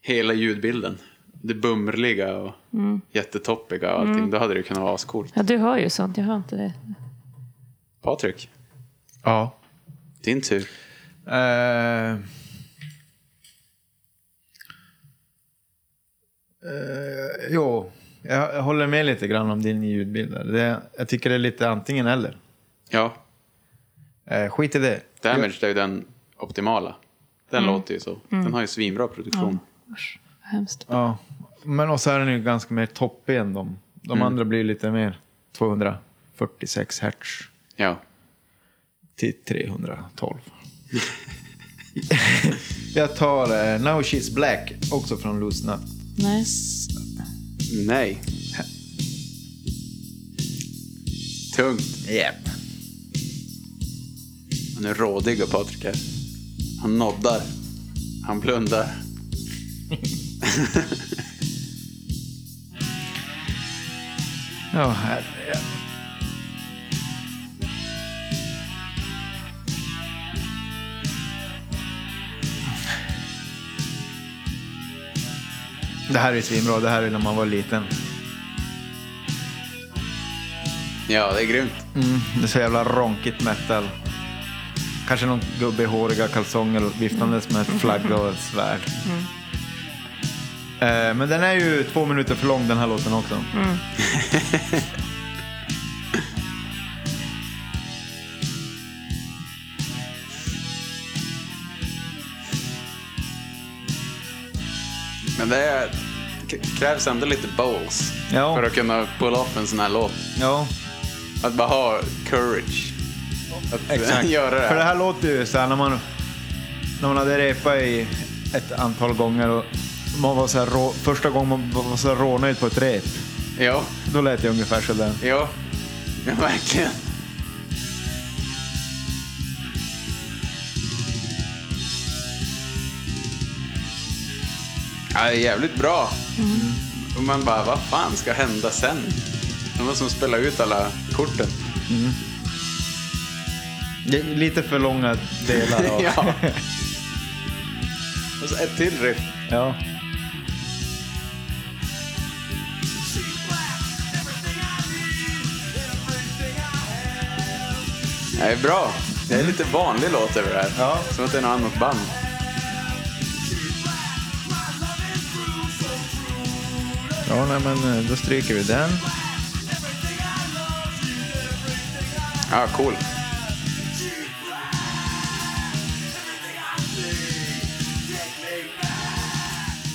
B: hela ljudbilden. Det bumliga och
D: Mm.
B: jättetoppiga och allting. Då hade det kunnat vara ascoolt.
D: Ja, du har ju sånt. Jag har inte det.
B: Patrik,
C: Ja.
B: din tur.
C: Eh. Eh, jo, jag, jag håller med lite grann om din ljudbild. där. Det, jag tycker det är lite antingen eller.
B: Ja,
C: Eh, skit i det.
B: Damage är ju den optimala. Den
D: Mm.
B: låter ju så. Den har ju svinbra produktion.
D: Usch, vad hemskt.
C: Ja. Men också är den ju ganska mer toppig än de. De andra blir lite mer 246 hertz
B: Ja.
C: till 312. jag tar eh, Now She's Black, också från Loose Nut.
D: Nej.
B: Nej. Tungt.
C: Yep.
B: Han är rådig och Patrik här. Han noddar. Han blundar.
C: Ja, herre. Det här är svinbra. Det här är när man var liten.
B: Ja, det är grymt.
C: Det är så jävla ronkigt metal. Kanske någon gubbe i håriga kalsonger och viftandes med ett flagga och ett svärd. Eh, Men den är ju två minuter för lång den här låten också.
B: Men det är, k- krävs ändå lite balls
C: Ja.
B: för att kunna pull off en sån här låt.
C: Ja,
B: Att bara ha courage. Att
C: Exakt.
B: göra det
C: För det
B: här.
C: här låter ju så här när man, när man hade repat i ett antal gånger och man var så här rå, första gången man var så här rånöjd på ett rep.
B: Ja,
C: Då lät det ungefär så där.
B: ja. ja verkligen. Ja, det är jävligt bra.
C: Mm.
B: Och man bara, vad fan ska hända sen? Det var som spela ut alla korten.
C: Det är lite för långa delar av.
B: Ja. Och så ett till riff.
C: ja.
B: Det är bra. Det är lite vanlig låt över det här.
C: Ja.
B: Som att det är något annat band.
C: Ja, nej, men eh, då stryker vi den.
B: Ja, cool.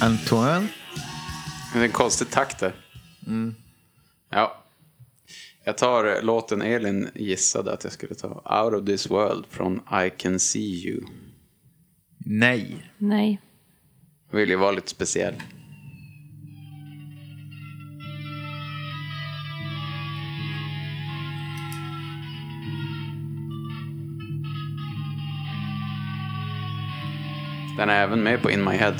C: Antoine?
B: Men Det är en konstig takt där. Ja. Jag tar eh, låten Elin gissade att jag skulle ta. Out of this world från I can see you.
C: Nej.
D: Nej.
B: Vill ju vara lite speciell. Den är även med på In My Head.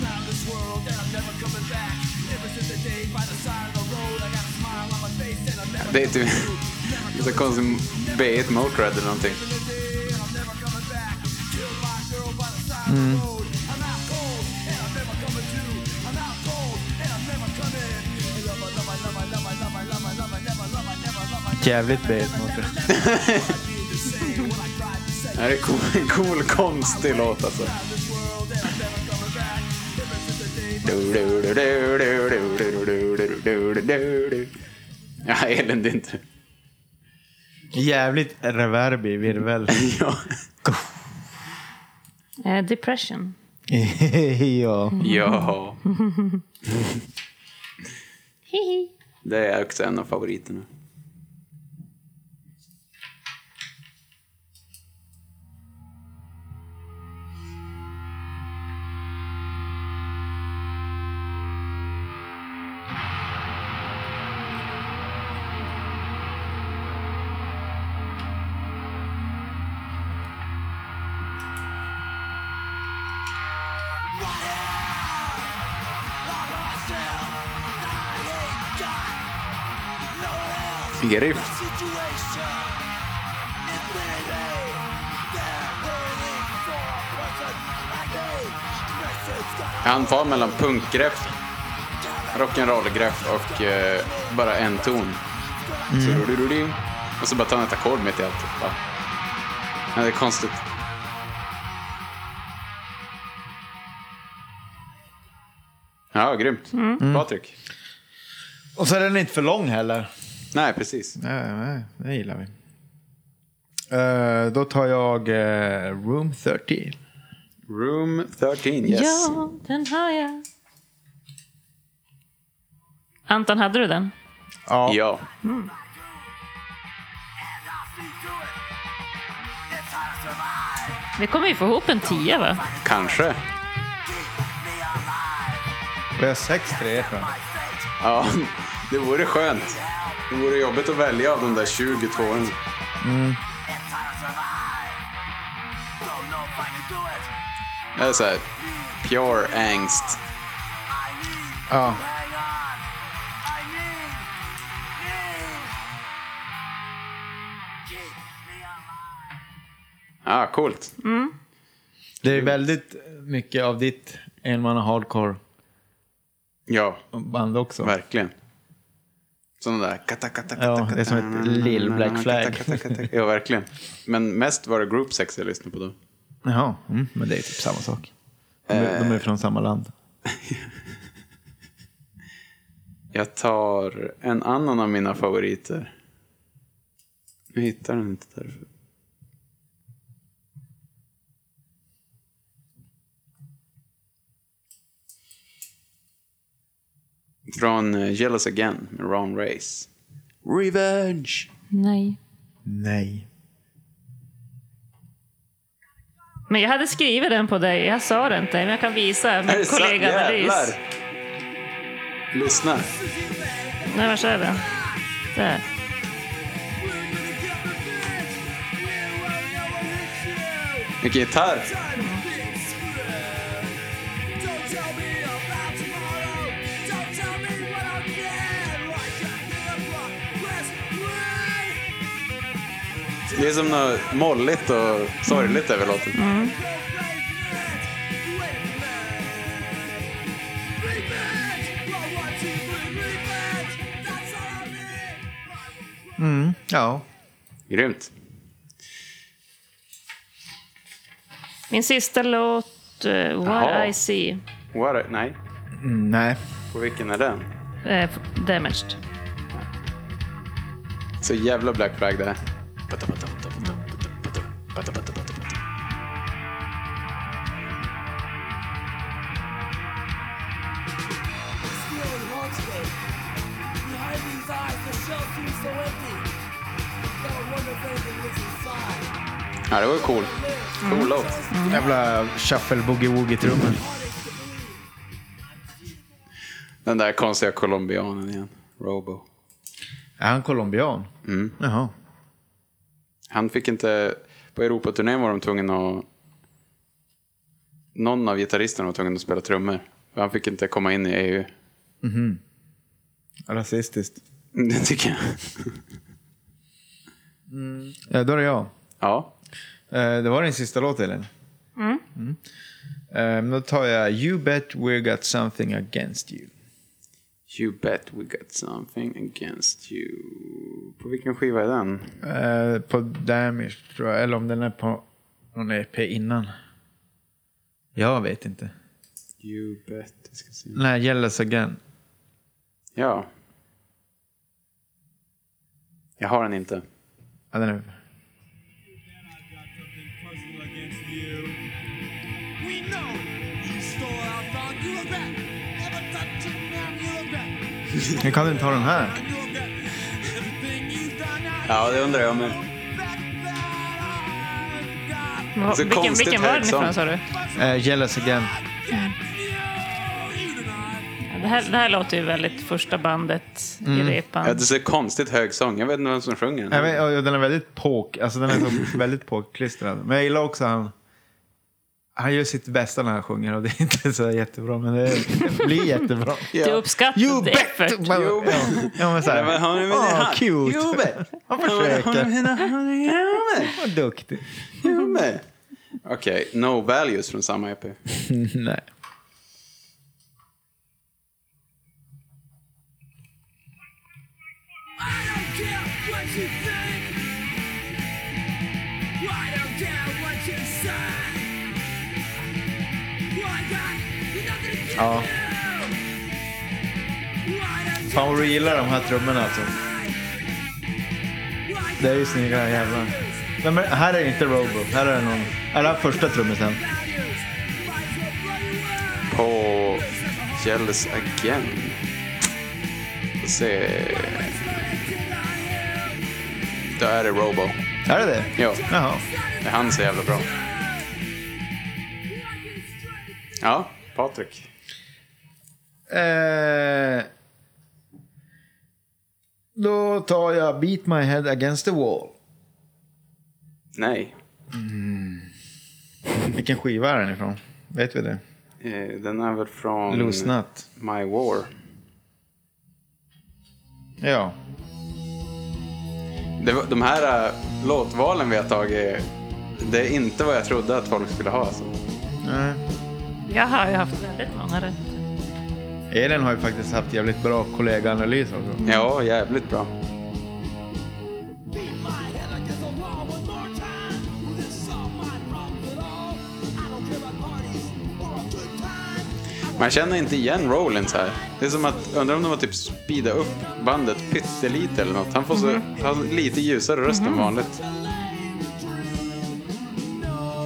F: around this world and I'm never coming back. Ever since the day by the side of the road, I got a smile on my face and I'm never
B: Det är typ så konstig B1 Motörhead eller någonting.
C: Jävligt bet mot det.
B: Det här är cool, en cool, konstig låt alltså. Ja, Elin, det är inte...
C: Jävligt reverb i virvel.
B: Ja.
D: Eh, depression.
C: ja.
B: ja.
D: Hihi.
B: Det är också en av favoriterna. Vilket riff. Han far mellan punkgrepp, rock'n'roll-grepp och eh, bara en ton. Så du-du-du-du. Och så bara tar han ett ackord mitt i allt. Bara. Ja, det är konstigt. Ja, grymt. Patrik?
C: Och så är den inte för lång heller.
B: Nej, precis.
C: Nej, nej, det gillar vi. Eh, då tar jag eh, Room 13.
B: Room 13, yes.
D: Ja, den har jag. Anton, hade du den?
C: Ja.
B: ja.
D: Vi kommer ju få ihop en tia, va?
B: Kanske.
C: Vi har 6-3 tror jag.
B: Ja, det vore skönt. Det vore jobbigt att välja av de där 22 åren. Det är så här, pure angst.
C: Ja.
B: Ja, ah, coolt.
C: Det är väldigt mycket av ditt enmanna hardcore
B: Ja,
C: band också.
B: verkligen. Sådana där... Kata, kata, kata,
C: Ja, det är som ett lill
B: Mm,
C: Black Flag.
B: kata, kata, kata. Ja, verkligen. Men mest var det group sex jag lyssnade på då.
C: Jaha, mm, men det är typ samma sak. De, är- de är från samma land.
B: Jag tar en annan av mina favoriter. Nu hittar den inte därför. Från eh, Jealous Again med Ron Race. Revenge!
D: Nej.
C: Nej.
D: Men jag hade skrivit den på dig. Jag sa det inte, men jag kan visa
B: Är
D: min
B: det sant?
D: kollega Analys.
B: Jävlar! Lyssna.
D: Nej, var är den? Där.
B: Vilken gitarr! Det är som något molligt och sorgligt över låten.
C: Ja.
B: Grymt.
D: Min sista låt, eh, What
B: Jaha.
D: I See,
B: What a, nej,
C: Mm, nej.
B: på vilken är den?
D: eh, Damaged.
B: Så jävla Black Flag det här.
G: Still in Hornsgate. Behind these eyes, the shell seems so empty. Gotta wonder if anything lives inside.
B: Ja, det var ju cool. Cool låt.
C: Mm. Jävla shuffle boogie woogie trummen
B: Den där konstiga colombianen igen. Robo.
C: Är han colombian? Mm. Jaha.
B: Han fick inte... På Europaturnén var de tvungna att... Någon av gitarristerna var tvungen att spela trummor. För Han fick inte komma in i E EU.
C: Rasistiskt.
B: Det tycker jag.
C: Ja, då är det jag.
B: Ja.
C: Eh, Det var din sista låt, Elin. Mm. Eh, men Då tar jag You bet we got something against you.
B: You bet we got something against you. På vilken skiva är den?
C: Eh, på Damage, tror jag. Eller om den är på någon EP innan. Jag vet inte.
B: You bet... Jag ska se.
C: Nej, Yellows Again.
B: Ja. Jag har den inte.
C: Ja, den är...
F: We know you stole our dog, you regret. Never touching them, you regret.
C: Nu kan du inte ha den här.
F: You regret. Everything you've done, I
B: Ja, det undrar jag med.
F: regret that I forgot.
D: Vad-
B: Så
D: Vilken,
B: konstigt
D: vilken var
B: hög
D: den ifrån
B: sång.
D: sa du?
C: Eh, Yellows Again.
F: You, you denied.
D: Det här, det här låter ju väldigt första bandet i repan.
B: Mm. Ja, det är så konstigt hög sång. Jag vet inte vem som sjunger
C: Jag
B: den.
C: vet, och den är väldigt påk, alltså den är så väldigt påklistrad. Men jag gillar också han. Han gör sitt bästa när han sjunger och det är inte så jättebra men det blir jättebra.
B: Ja.
D: Du uppskattar
C: You
D: the
C: bet!
D: effort.
C: Ja, ja, men så här,
B: Nej, men han är väl
C: "Åh,
B: han-
C: cute.
B: You bet.
C: Han försöker.
B: Okej,
C: Vad duktig.
B: No Values från samma E EP.
C: Nej.
G: I don't care what you think. I don't care what you say. Why God, you're not gonna get
C: Ja.
G: you. Why don't you
C: Fan vad du gillar de här trummorna alltså. Det är ju snygga jävlar. Nej, men här är inte Robo. Här är någon. Är det här första trummisen?
B: På Jealous Again. Får se. Då är det Robo.
C: Är det det?
B: Jo,
C: Jaha.
B: det är han så jävla bra. Ja, Patrik.
C: Eh, då tar jag Beat My Head Against the Wall.
B: Nej,
C: Vilken skiva är den ifrån? Vet vi det?
B: eh, den är väl från
C: Loose Nut.
B: My War.
C: Ja.
B: Det, var- de här äh, låtvalen vi har tagit, det är inte vad jag trodde att folk skulle ha. Alltså.
C: Nej.
D: Jag har ju haft väldigt många rätt.
C: Elin har ju faktiskt haft jävligt bra kollegaanalys också.
B: Ja, jävligt bra.
G: Beat my head against the wall one more time. This is all my problem at all. I don't care about parties or a good time.
B: Man känner inte igen Rollins här. Det är som att, undrar om de har typ speeda upp bandet pyttelite eller något. Han får så, han har lite ljusare röst än vanligt.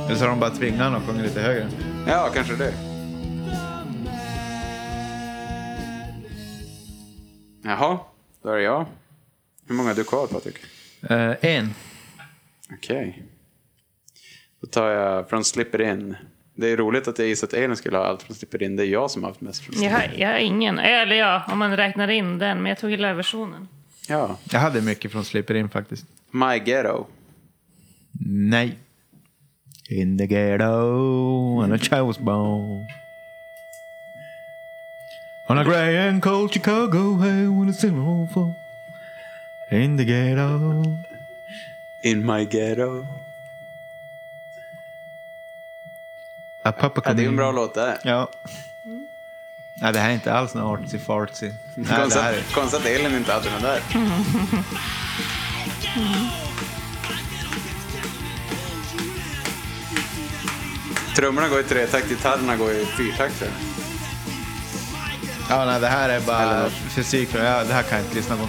C: Eller så har de bara tvingat honom att sjunga lite högre.
B: Ja, kanske det. Jaha, då är det jag. Hur många har du kvar Patrik?
C: Eh, en.
B: Okej. Då tar jag från Slipper In. Det är roligt att jag gissat att Elin skulle ha allt från Slipper In. Det är jag som har haft mest från
D: Jag
B: Slipper In.
D: har, jag har ingen. Eller ja, om man räknar in den. Men jag tog hela versionen.
B: Ja.
C: Jag hade mycket från Slipper In faktiskt.
B: My Ghetto.
C: Nej. In the ghetto and a child's bone. On a grey and cold Chicago hay when it's in all fall. In the ghetto.
B: In My Ghetto.
C: A papa
B: Ja, det är ju
C: come
B: en bra
C: in.
B: låt det. här.
C: Ja. Nej, det här är inte alls någon artsy fartsy. Nej, det
B: Konstigt
C: här är...
B: att- Konstigt att Elin inte hade den där. Trummorna går i tretakt, gitarrerna går i fyrtakt. väl?
C: Ja, nej, det här är
B: Eller
C: bara
B: något.
C: fysik. för Jag, det här kan jag inte lyssna på.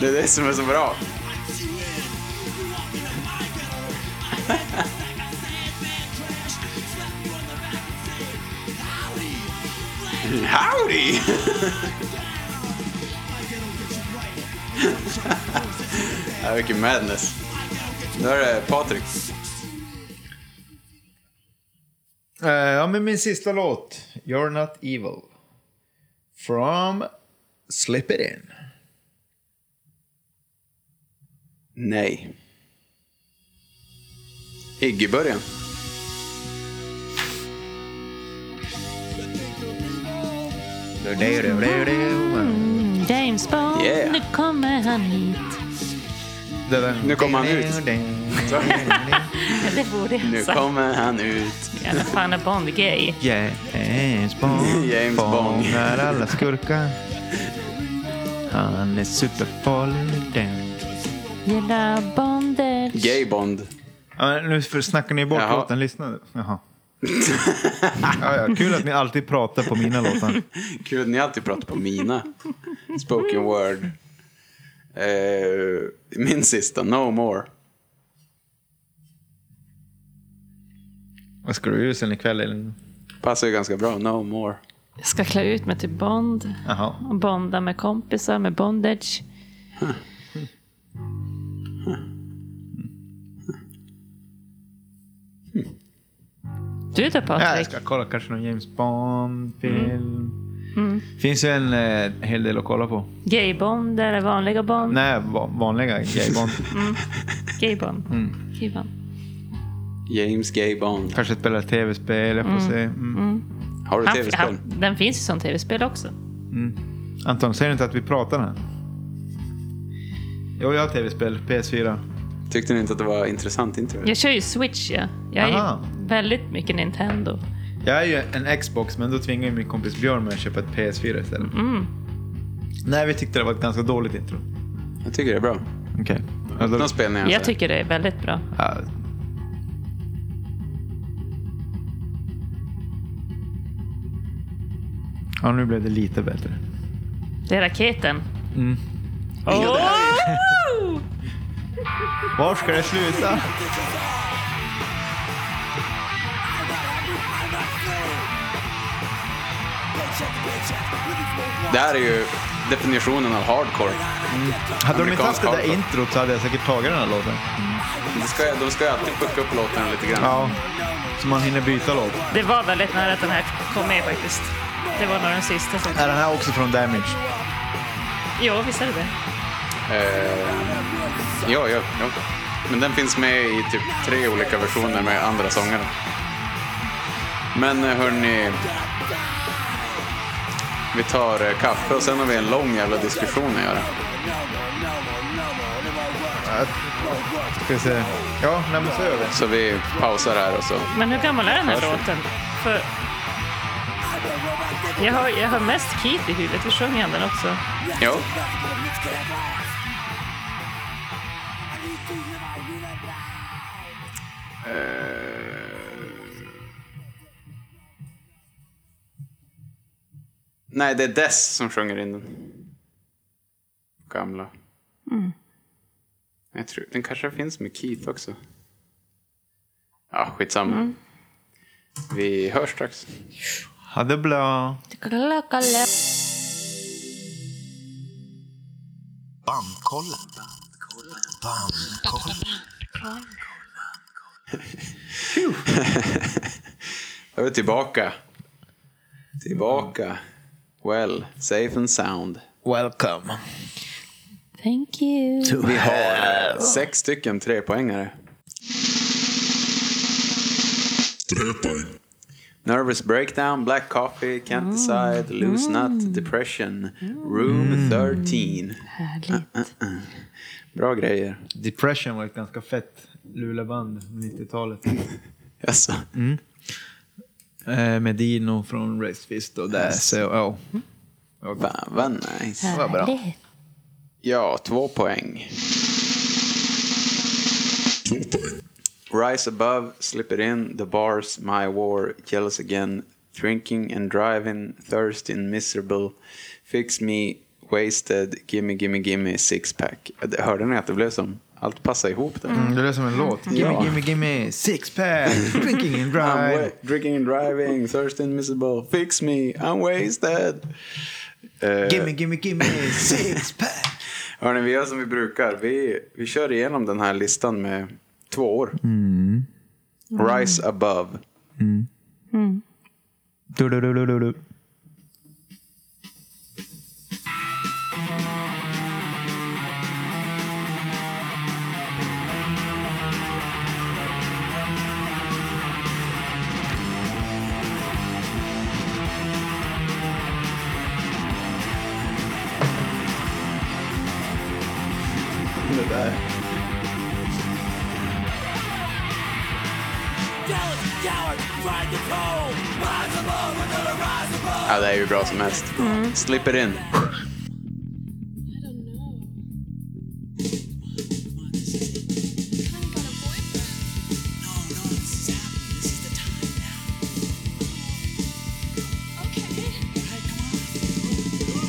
B: Det är det som är så bra. Howdy! Ja, Vilken madness. Nu är det Patrik.
C: Eh, ja, men min sista låt, You're Not Evil. From Slip It In.
B: Nej. Iggy-början.
D: James Bond,
B: Yeah.
D: nu kommer han hit.
C: Det där.
B: Nu kommer han ut.
D: Det borde
B: Nu
D: jag sagt.
B: kommer han ut.
D: Jävla fan är Bond gay.
C: James Bond
B: James Bond.
C: fångar alla skurkar. Han är superfarlig. den.
D: Gillar bondage.
B: Gay Bond.
C: Ja, men nu för- snackar ni bort
B: Jaha.
C: låten. Lyssna nu. Jaha. Ja, ja, kul att ni alltid pratar på mina låtar.
B: Gud, ni har alltid pratat på mina. Spoken word. Eh, min sista, No More.
C: Vad ska du göra sen ikväll? Elin?
B: Passar ju ganska bra, No More.
D: Jag ska klä ut mig till Bond.
C: Jaha.
D: Och bonda med kompisar med bondage. Du då
C: Ja, jag
D: Patrik?
C: ska kolla kanske någon James Bond-film. Finns ju en eh, hel del att kolla på.
D: Gaybond eller vanliga Bond?
C: Nej, va- vanliga Gay Bond.
D: Gaybond. Gaybond.
B: James Gay Bond.
C: Kanske spela tv-spel, jag får se. Mm.
B: Har du
D: Han,
B: tv-spel?
D: han, den finns ju som tv-spel också.
C: Anton, säger du inte att vi pratar här? Jo, jag har tv-spel. PS4.
B: Tyckte ni inte att det var intressant intro?
D: Jag kör ju Switch ja. Jag är
C: Aha.
D: ju väldigt mycket Nintendo.
C: Jag är ju en Xbox, men då tvingar ju min kompis Björn mig att köpa ett PS4 istället. Nej, vi tyckte det var ett ganska dåligt intro.
B: Jag tycker det är bra.
C: Okej. Ja, då-
B: Någon spelning alltså.
D: Jag tycker det är väldigt bra.
C: Ja. Ja, nu blev det lite bättre.
D: Det är raketen.
B: Mm. Ja, det här är-
D: Oh!
C: Var ska det sluta?
B: Det här är ju definitionen av hardcore.
C: Hade de inte haft det där
B: Amerikansk
C: introt så hade jag säkert tagit den här låten.
B: De ska, ju- de ska ju alltid fucka upp låtarna lite grann.
C: Ja, så man hinner byta låt.
D: Det var väldigt nära att den här kom med faktiskt. Det var nog den sista som
C: Är den här också från Damage?
D: Jo, visst är det det.
B: Eh, ja, ja, ja. Men den finns med i typ tre olika versioner med andra sångare. Men eh, hörni. Vi tar eh, kaffe och sen har vi en lång jävla diskussion att göra.
C: Äh, Ska vi se. Ja, nej men så gör vi.
B: Så vi pausar här och så.
D: Men hur gammal är den här
B: Hörs vi?
D: låten? För jag, har, jag har mest Keith i huvudet. Hur sjunger han den också?
B: Ja. Nej, det är Dess som sjunger in den. Gamla. Jag tror, den kanske finns med Keith också. Ja, skitsamma. Vi hörs strax.
C: Ha det bra.
H: Bandkollen.
B: Då är vi tillbaka. Tillbaka. Well, safe and sound.
C: Welcome.
D: Thank you.
B: Vi har sex stycken trepoängare.
A: Träpoäng.
B: Nervous breakdown, black coffee,
D: Mm.
B: can't decide, loose nut, depression, room 13.
D: Härligt.
B: ah. Bra grejer.
C: Depression var ett ganska fett Luleband, 90-talet.
B: Jaså?
C: Eh, med Dino från Race Fist och där. Så, ja.
B: Fan vad nice.
C: Det var bra.
D: Härligt.
B: Ja, två poäng.
A: Två poäng.
B: Rise above, slipper in, the bars, my war, jealous again, drinking and driving, thirsty and miserable, fix me, wasted, gimme, gimme, gimme, six pack. Det- Hörde ni att det blev som, allt passar ihop där.
C: Mm, det låter som en låt. Gimme,
B: Ja.
C: gimme, gimme, six pack, drinking
B: I'm
C: and drive.
B: wa- drinking and driving, thirsty and miserable, fix me, I'm wasted. Eh,
C: Gimme, gimme, gimme, six pack.
B: Hörni, vi gör som vi brukar. Vi, vi kör igenom den här listan med två år. Rise above.
C: Du, du, du, du, du, du.
F: Dallas, coward, ride the cold. Rise above, we're gonna rise above.
B: Ja, det är ju bra som helst. Slipper in.
I: I don't know. Come on, come on, this is it. Kind of got a boyfriend. No, no, this is happening. This is the time now. Okay. Right, come on.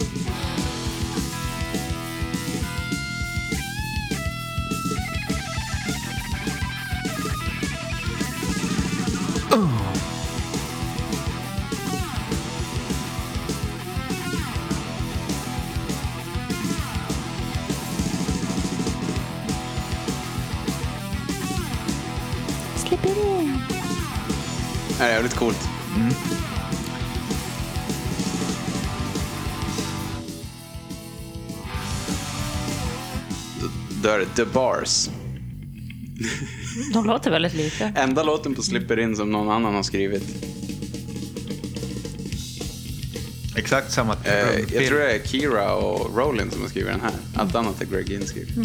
B: Det är jävligt coolt. D- Då är det The Bars.
D: De låter väldigt lika.
B: Enda låten på Slipper In som någon annan har skrivit.
C: Exakt samma typ
B: Eh,
C: trumpet.
B: jag tror det är Kira och Rowling som har skrivit den här. Allt annat är Greg Ginn skrivit.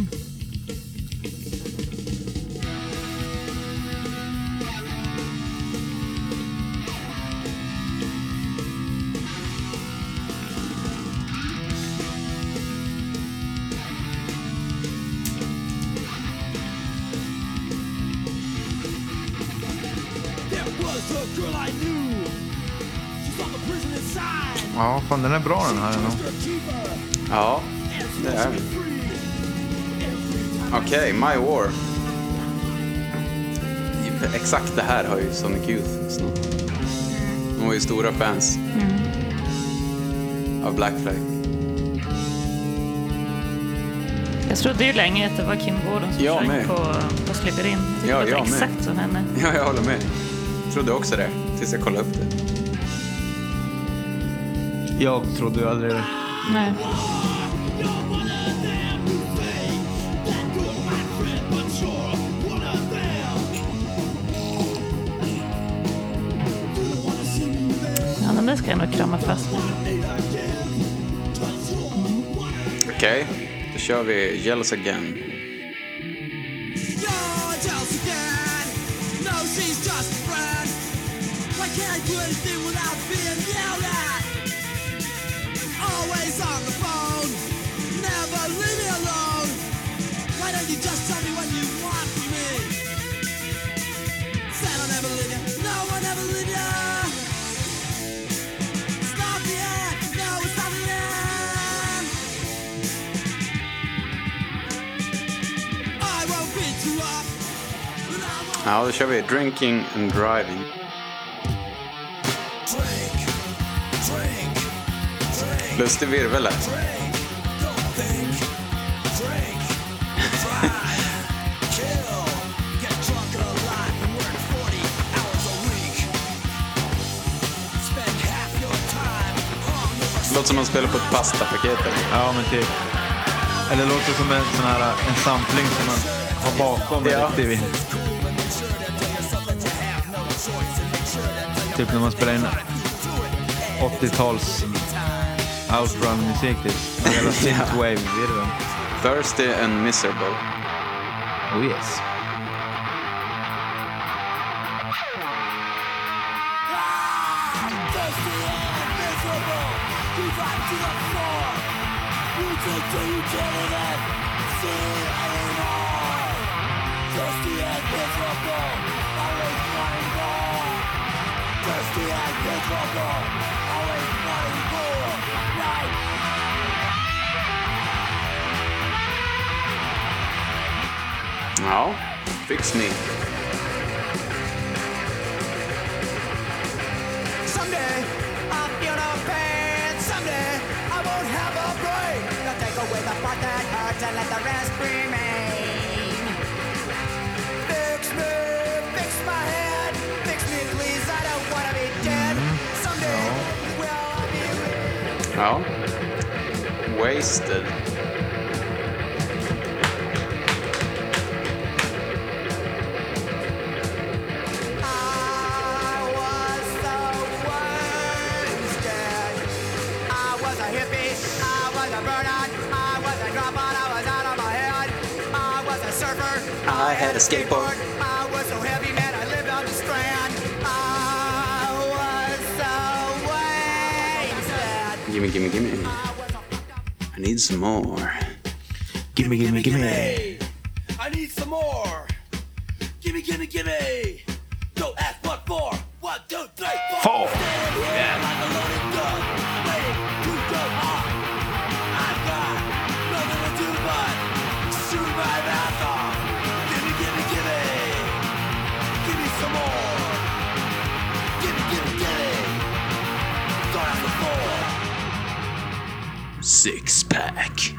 F: There was a girl I knew. She's on the prison inside.
C: Ja, fan den är bra den här. ändå.
F: Mr. Keeper.
B: Ja, det är den. Okej, My War. Exakt det här har ju Sonic Youth snott. De var ju stora fans av Black Flag.
D: Jag trodde ju länge att det var Kim Gordon som
B: Jag
D: sjöng
B: med.
D: på, på Slipper In. Jag tyckte
B: Ja,
D: det
B: jag
D: låter
B: med.
D: exakt som henne.
B: Ja, jag håller med. Trodde också det, tills jag kollade upp det.
C: Jag trodde ju aldrig det.
D: Nej. Ja, den där ska jag nog krama fast med.
B: Okej, då kör vi Jealous Again.
F: You're jealous again. No, she's just a friend. Why can't I do anything without being yelled at? Always on the phone. Never leave me alone. Why don't you just tell me what you want from me? Said I'll never leave you. No, I'll never leave you. It's not the end. No, it's not the end. I won't beat you up. And I won't
B: Ja, då kör vi Drinking and Driving. Lustig virvel här. Låter som man spelar på ett pastapaket. eller?
C: Ja, men typ. Eller låter som en sån här en sampling som man har bakom en
B: Ja.
C: riktig vin. Typ när man spelar in 80-tals outrun-musik typ. Med Hela synthwave-virveln.
B: Thirsty and miserable.
C: Oh yes.
F: Till you can't even see anymore
G: Thirsty and miserable, always wanting more. Thirsty and miserable, always wanting more. Life
B: Ja, fix me.
F: Someday I'll feel no pain. Someday I won't have a brain. They'll take away the part that hurts and let the rest remain. Fix me, fix my head, fix me, please. I don't wanna be dead. Someday will I be
B: Ja. Wasted.
F: I was the wasted. I was a hippie. I was a burnout. I was a dropout. I was out of my head. I was a surfer. I had a skateboard. I was so heavy, man. I lived on the strand. I was so wasted.
B: Gimme, gimme, gimme. I need some more.
E: Gimme, gimme, gimme.
G: I need some more. Gimme, gimme, gimme. Don't ask what for. One, two, three, four.
C: Four.
G: Stand here like a loaded gun, waiting to go off. I've got nothing to do but shoot my mouth off. Gimme, gimme, gimme. Gimme some more. Gimme, gimme, gimme. Don't ask what for.
E: Six pack.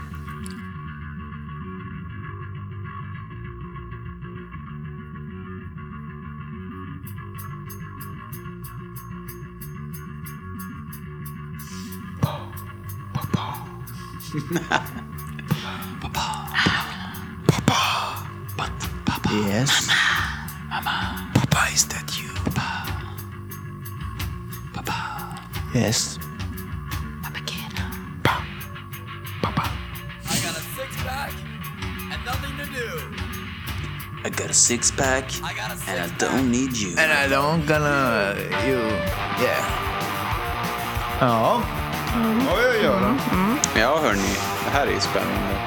C: Yes.
E: Papa, is that you? Papa. Papa.
C: Yes.
G: I got a six pack and nothing to do.
E: I got a six pack
G: I got a six
E: and I don't need you.
C: And I don't gonna you. Yeah. Ja.
D: Mm.
C: Oj, oj, oj. då.
B: Ja, hörni. Det här är ju spännande.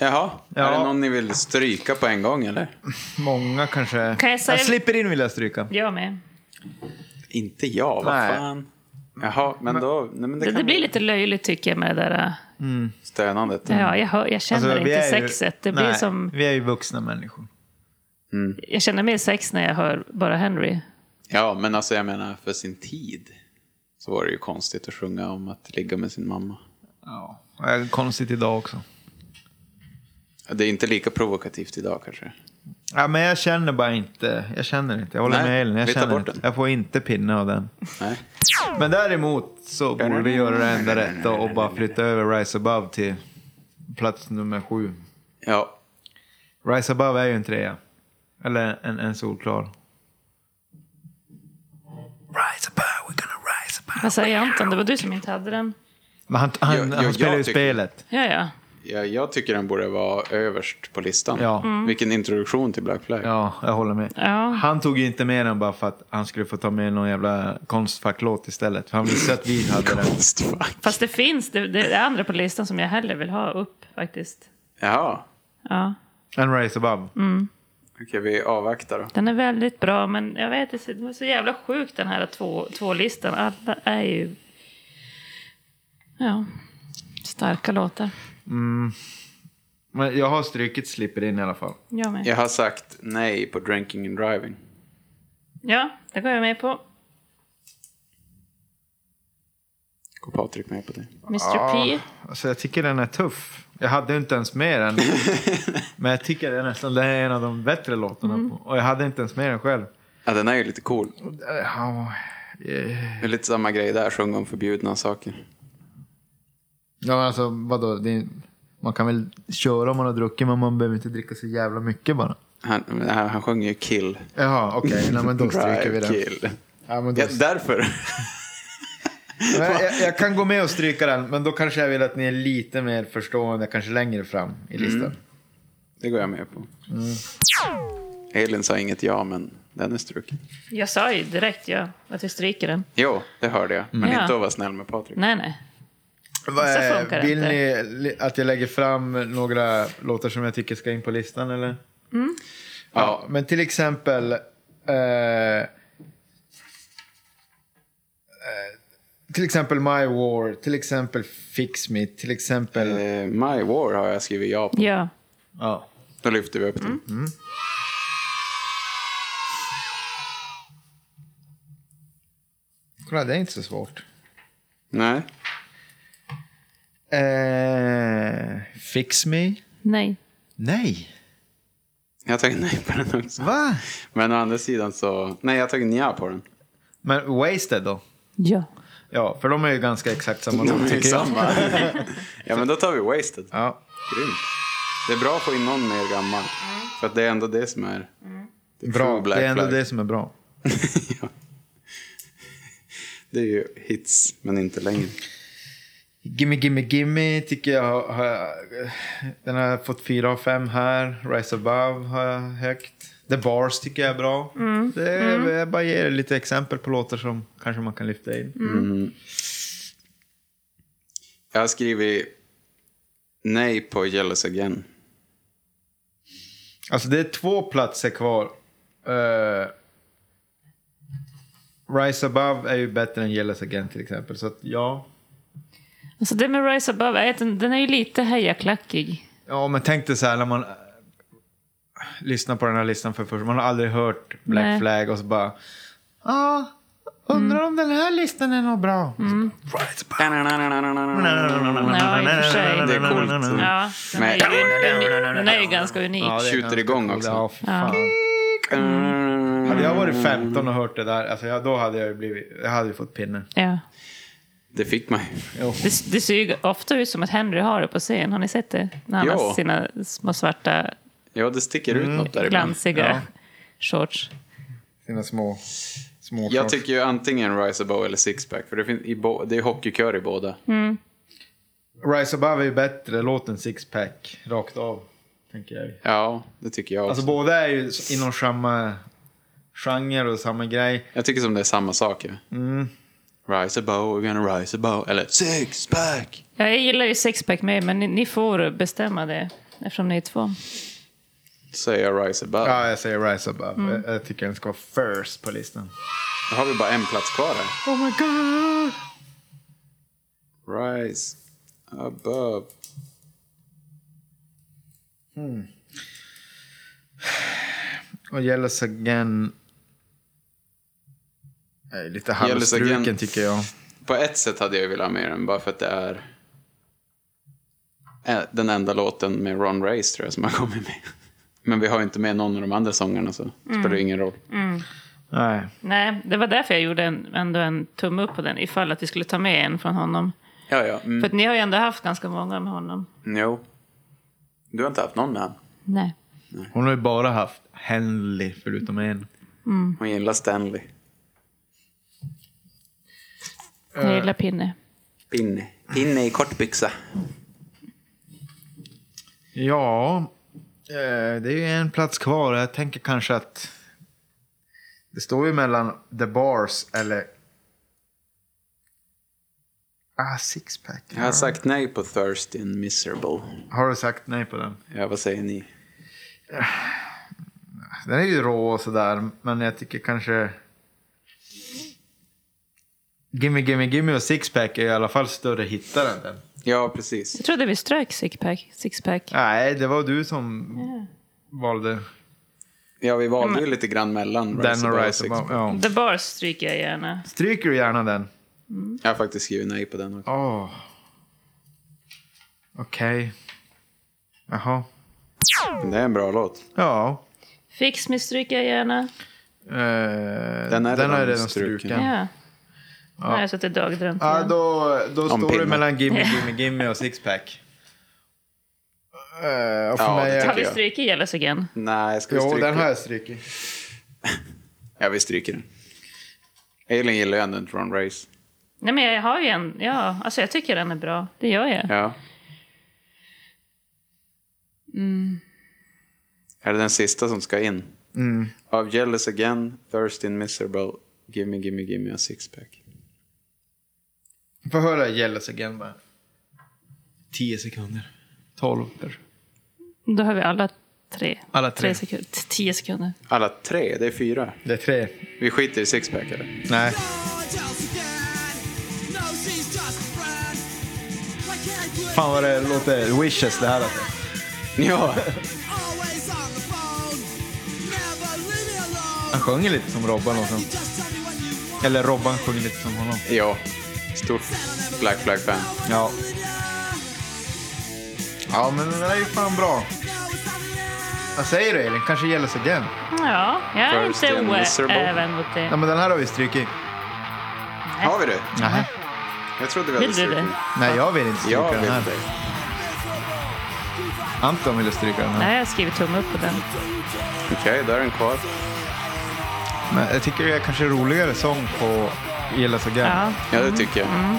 B: Jaha, är det
C: Ja.
B: någon ni vill stryka på en gång eller?
C: Många kanske.
D: Kan jag säga-
C: slipper in vill jag stryka.
D: Jag med.
B: Inte jag, vad
C: Nej.
B: fan. Jaha, men då... Nej, men det,
D: Det, det
B: kan
D: blir lite löjligt tycker jag med det där. äh,
B: stönandet.
D: Ja, jag, hör, jag känner
C: Mm. Alltså, vi
D: inte
C: är ju-
D: sexet. Det blir
C: nej,
D: som,
C: Vi är ju vuxna människor.
D: jag känner mer sex när jag hör bara Henry.
B: Ja, men alltså jag menar för sin tid så var det ju konstigt att sjunga om att ligga med sin mamma.
C: Ja. Det är konstigt idag också.
B: Det är inte lika provokativt idag kanske.
C: Ja, men jag känner bara inte. Jag känner inte. Jag håller
B: Nej,
C: med Elin. Jag
B: vi tar
C: känner
B: bort
C: inte.
B: den.
C: Jag får inte pinne av den.
B: Nej.
C: Men däremot så borde vi göra det enda rätta och bara flytta över Rise Above till plats nummer sju.
B: Ja,
C: Rise Above är ju en trea. Eller en, en solklar. Rise Above, we're gonna rise above.
D: Vad säger Anton? Det var du som inte hade den.
C: Men han, han,
B: Jo, jo,
C: han
B: jag
C: spelar ju
B: tycker-
C: spelet.
D: Ja, ja.
B: jag, jag tycker den borde vara överst på listan.
C: Ja. Mm.
B: Vilken introduktion till Black Flag.
C: Ja, jag håller med.
D: Ja.
C: Han tog ju inte med den bara för att han skulle få ta med någon jävla konstfacklåt istället. För han visste att vi hade den.
B: Fuck.
D: Fast det finns, det, det är andra på listan som jag hellre vill ha upp faktiskt.
B: Jaha,
D: Ja,
C: En Rise Above.
B: okej vi avvaktar då.
D: den är väldigt bra men jag vet inte, det var så jävla sjukt den här två, två listan. Alla är ju... Ja, starka låtar.
C: Men jag har strykit Slipper In i alla fall.
D: Jag med. Ja.
B: Jag har sagt nej på Drinking and Driving.
D: det går jag med på.
B: Går Patrik med på det?
D: Mr P.
C: Alltså jag tycker den är tuff. Jag hade ju inte ens med den. Men jag tycker det är nästan det är en av de bättre låtarna. På. Och jag hade inte ens med den själv.
B: Ja, den är ju lite cool.
C: Ja, eh,
B: Det är lite samma grej där, sjunga om förbjudna saker.
C: Ja, men alltså vadå? Det är, man kan väl köra om man har druckit men man behöver inte dricka så jävla mycket bara.
B: Han, men han, han sjunger ju kill.
C: Jaha, okej. Nej, men då stryker vi
B: Drive,
C: den.
B: kill.
C: Ja, men då,
B: Ja, därför.
C: Nej, jag, jag kan gå med och stryka den, men då kanske jag vill att ni är lite mer Mm. förstående, kanske längre fram i listan.
B: Det går jag med på. Mm. Elin sa inget ja, men den är struken.
D: Jag sa ju direkt ja, att vi stryker den.
B: Jo, det hörde jag. Men
D: Ja.
B: inte att vara snäll med Patrik.
D: Nej, nej.
C: Vad
D: Så
C: är-
D: funkar det
C: Vill
D: inte.
C: ni li- att jag lägger fram några låtar som jag tycker ska in på listan eller?
D: Mm.
C: Ja, men till exempel... Eh, eh, till exempel My War, till exempel Fix Me, till exempel...
B: Eh, My War har jag skrivit ja på.
D: Ja.
C: Ja.
B: Då lyfter vi upp
C: Mm.
B: den.
C: Kolla, det är inte så svårt.
B: Nej.
C: Eh, fix Me?
D: Nej.
C: Nej.
B: Jag har tagit nej på den också.
C: Va?
B: Men å andra sidan så... Nej, jag har tagit nja på den.
C: Men Wasted då?
D: Ja.
C: Ja, för de är ju ganska exakt samma
B: De
C: låt
B: är ju
C: tycker jag.
B: samma. ja, men då tar vi Wasted.
C: Ja.
B: Grymt. Det är bra att få in någon mer gammal. För att det är ändå det som är... Det är
C: Mm. Bra,
B: true Black
C: det är ändå
B: Flag.
C: det som är bra.
B: ja. Det är ju hits, men inte längre.
C: Gimme, gimme, gimme tycker jag har, har Den har jag fått fyra av fem här. Rise Above har jag högt. The Bars tycker jag är bra. Det är, Jag bara ger lite exempel på låtar som kanske man kan lyfta in.
B: Jag har skrivit nej på Jealous Again.
C: Alltså det är två platser kvar. Eh, Rise Above är ju bättre än Jealous Again till exempel. Så att ja.
D: Alltså det med Rise Above, är att den, den är ju lite hejaklackig.
C: Ja men tänk dig så här när man äh, lyssnar på den här listan för första Man har aldrig hört Black
D: Nej.
C: Flag och så bara. Ah, undrar om den här listan är något bra.
D: Ja, i och för sig.
B: Det är coolt.
D: Ja, den
B: Men-
D: är, ju, den är ju ganska unik.
C: Mm. Ja, det är
B: Skjuter
C: ganska
B: igång
C: coolt.
B: också.
C: Ja, för fan. Hade jag varit 15 och hört det där, alltså jag, då hade jag ju blivit, jag hade ju fått pinne.
D: Ja.
B: Det fick man ju.
D: Det, det ser ju ofta ut som att Henry har det på scen. Har ni sett det? När han
B: Ja.
D: har sina små svarta,
B: Ja, det sticker ut något där ibland.
D: glansiga
C: Ja.
D: shorts.
C: Sina små, små
B: Jag
C: shorts.
B: tycker ju antingen Rise Above eller Sixpack. För det, finns i bo- det är hockeykör i båda.
C: Rise Above är ju bättre låt än Sixpack, rakt av. Tänker jag.
B: Ja, det tycker jag också.
C: Alltså båda är ju inom samma genre och samma grej.
B: jag tycker som det är samma sak ju.
C: Mm.
B: Rise Above, we're gonna rise above. Eller Sixpack!
D: Ja, jag gillar ju sexpack med, men ni, ni får bestämma det eftersom ni är två.
B: Säger jag Rise Above.
C: Ja, jag säger Rise Above. Jag, jag tycker den ska vara first på listan.
B: Då har vi bara en plats kvar här.
C: Oh my god!
B: Rise Above.
C: Och Yellows Again är lite
B: Yellows
C: halvstruken
B: Again.
C: tycker jag.
B: På ett sätt hade jag velat ha med den bara för att det är eh, den enda låten med Ron Race tror jag som har kommit med. Men vi har ju inte med någon av de andra sångarna så det spelar ju ingen roll.
C: Nej.
D: Nej, det var därför jag gjorde en, ändå en tumme upp på den ifall att vi skulle ta med en från honom.
B: Ja, ja. Mm.
D: För att ni har ju ändå haft ganska många med honom.
B: Jo. Du har inte haft någon med han.
D: Nej.
C: Hon har ju bara haft Henley förutom en.
B: Hon gillar Stanley.
D: Jag gillar Pinne.
B: Pinne. Pinne i kortbyxa.
C: Ja, eh, det är ju en plats kvar. Jag tänker kanske att det står ju mellan The Bars eller Ah, Sixpack.
B: Jag har sagt nej på Thirsty and Miserable.
C: Har du sagt nej på den?
B: Ja, vad säger ni?
C: Den är ju rå och sådär, men jag tycker kanske... Gimme, gimme, gimme och sixpack är i alla fall större hittare än den.
B: Ja, precis.
D: Jag trodde vi strök sixpack. sixpack.
C: Nej, det var du som valde
B: Ja, vi valde ju lite grann mellan
C: den och
B: Above
C: Rise
B: Six-
C: Above. Ja.
D: The Bars stryker jag gärna.
C: Stryker du gärna den?
B: Jag har faktiskt skrivit nej på den också.
C: Åh. Okej. Jaha.
B: Men Det är en bra låt.
C: Ja.
D: Fix Me stryker jag gärna.
C: eh, den
B: är
C: har
B: redan
C: jag redan
B: struken.
C: struken. Ja.
D: Ja. Nu har jag suttit dagdrömt igen.
C: då då står
B: pinne.
C: det mellan Gimme, Gimme, Gimme och Sixpack. Uh, och för
B: Ja,
C: mig
B: det
C: är-
D: Har vi
B: jag.
D: strykit Yellows Again?
B: Nej, ska vi
C: Jo,
B: stryka?
C: den har jag strykit.
B: Ja, vi stryker den. Elin gillar ju ändå inte Ron Race.
D: Nej, men jag har ju en. Ja, alltså jag tycker den är bra. Det gör jag.
B: Ja. Är det den sista som ska in? Av Jealous Again, Thirsty and Miserable, Gimme Gimme Gimme a Sixpack.
C: Få höra Jealous Again bara. 10 sekunder. 12 kanske.
D: Då har vi alla tre.
C: Alla tre.
D: sekunder. T- Tio sekunder.
B: Alla tre, det är fyra.
C: Det är tre.
B: Vi skiter i sixpack eller?
C: Nej. Fan vad det låter Wishes det här låter.
B: Ja,
C: Han sjunger lite som Robban också. Eller Robban sjunger lite som honom.
B: ja. Stort Black Flag-fan.
C: Ja. Ja men den är ju fan bra. Vad säger du Elin? Kanske Jealous Again?
D: Ja, jag är
B: Thirsty and
D: inte
B: miserable.
D: oäven mot
C: Ja
D: det.
C: men den här har vi strykit.
B: Har vi det?
C: Nej.
B: Jag trodde vi
D: Vill
B: hade
D: du
B: strukit.
D: det?
C: Nej jag vill inte stryka
B: Jag
C: den
B: vill
C: här.
B: det.
C: Anton ville stryka den här.
D: Nej, jag skriver tumme upp på den.
B: Okej, då är den kvar.
C: Men jag tycker det är kanske roligare sång på Jealous Again.
D: Ja.
B: Ja, det tycker jag.
D: Mm.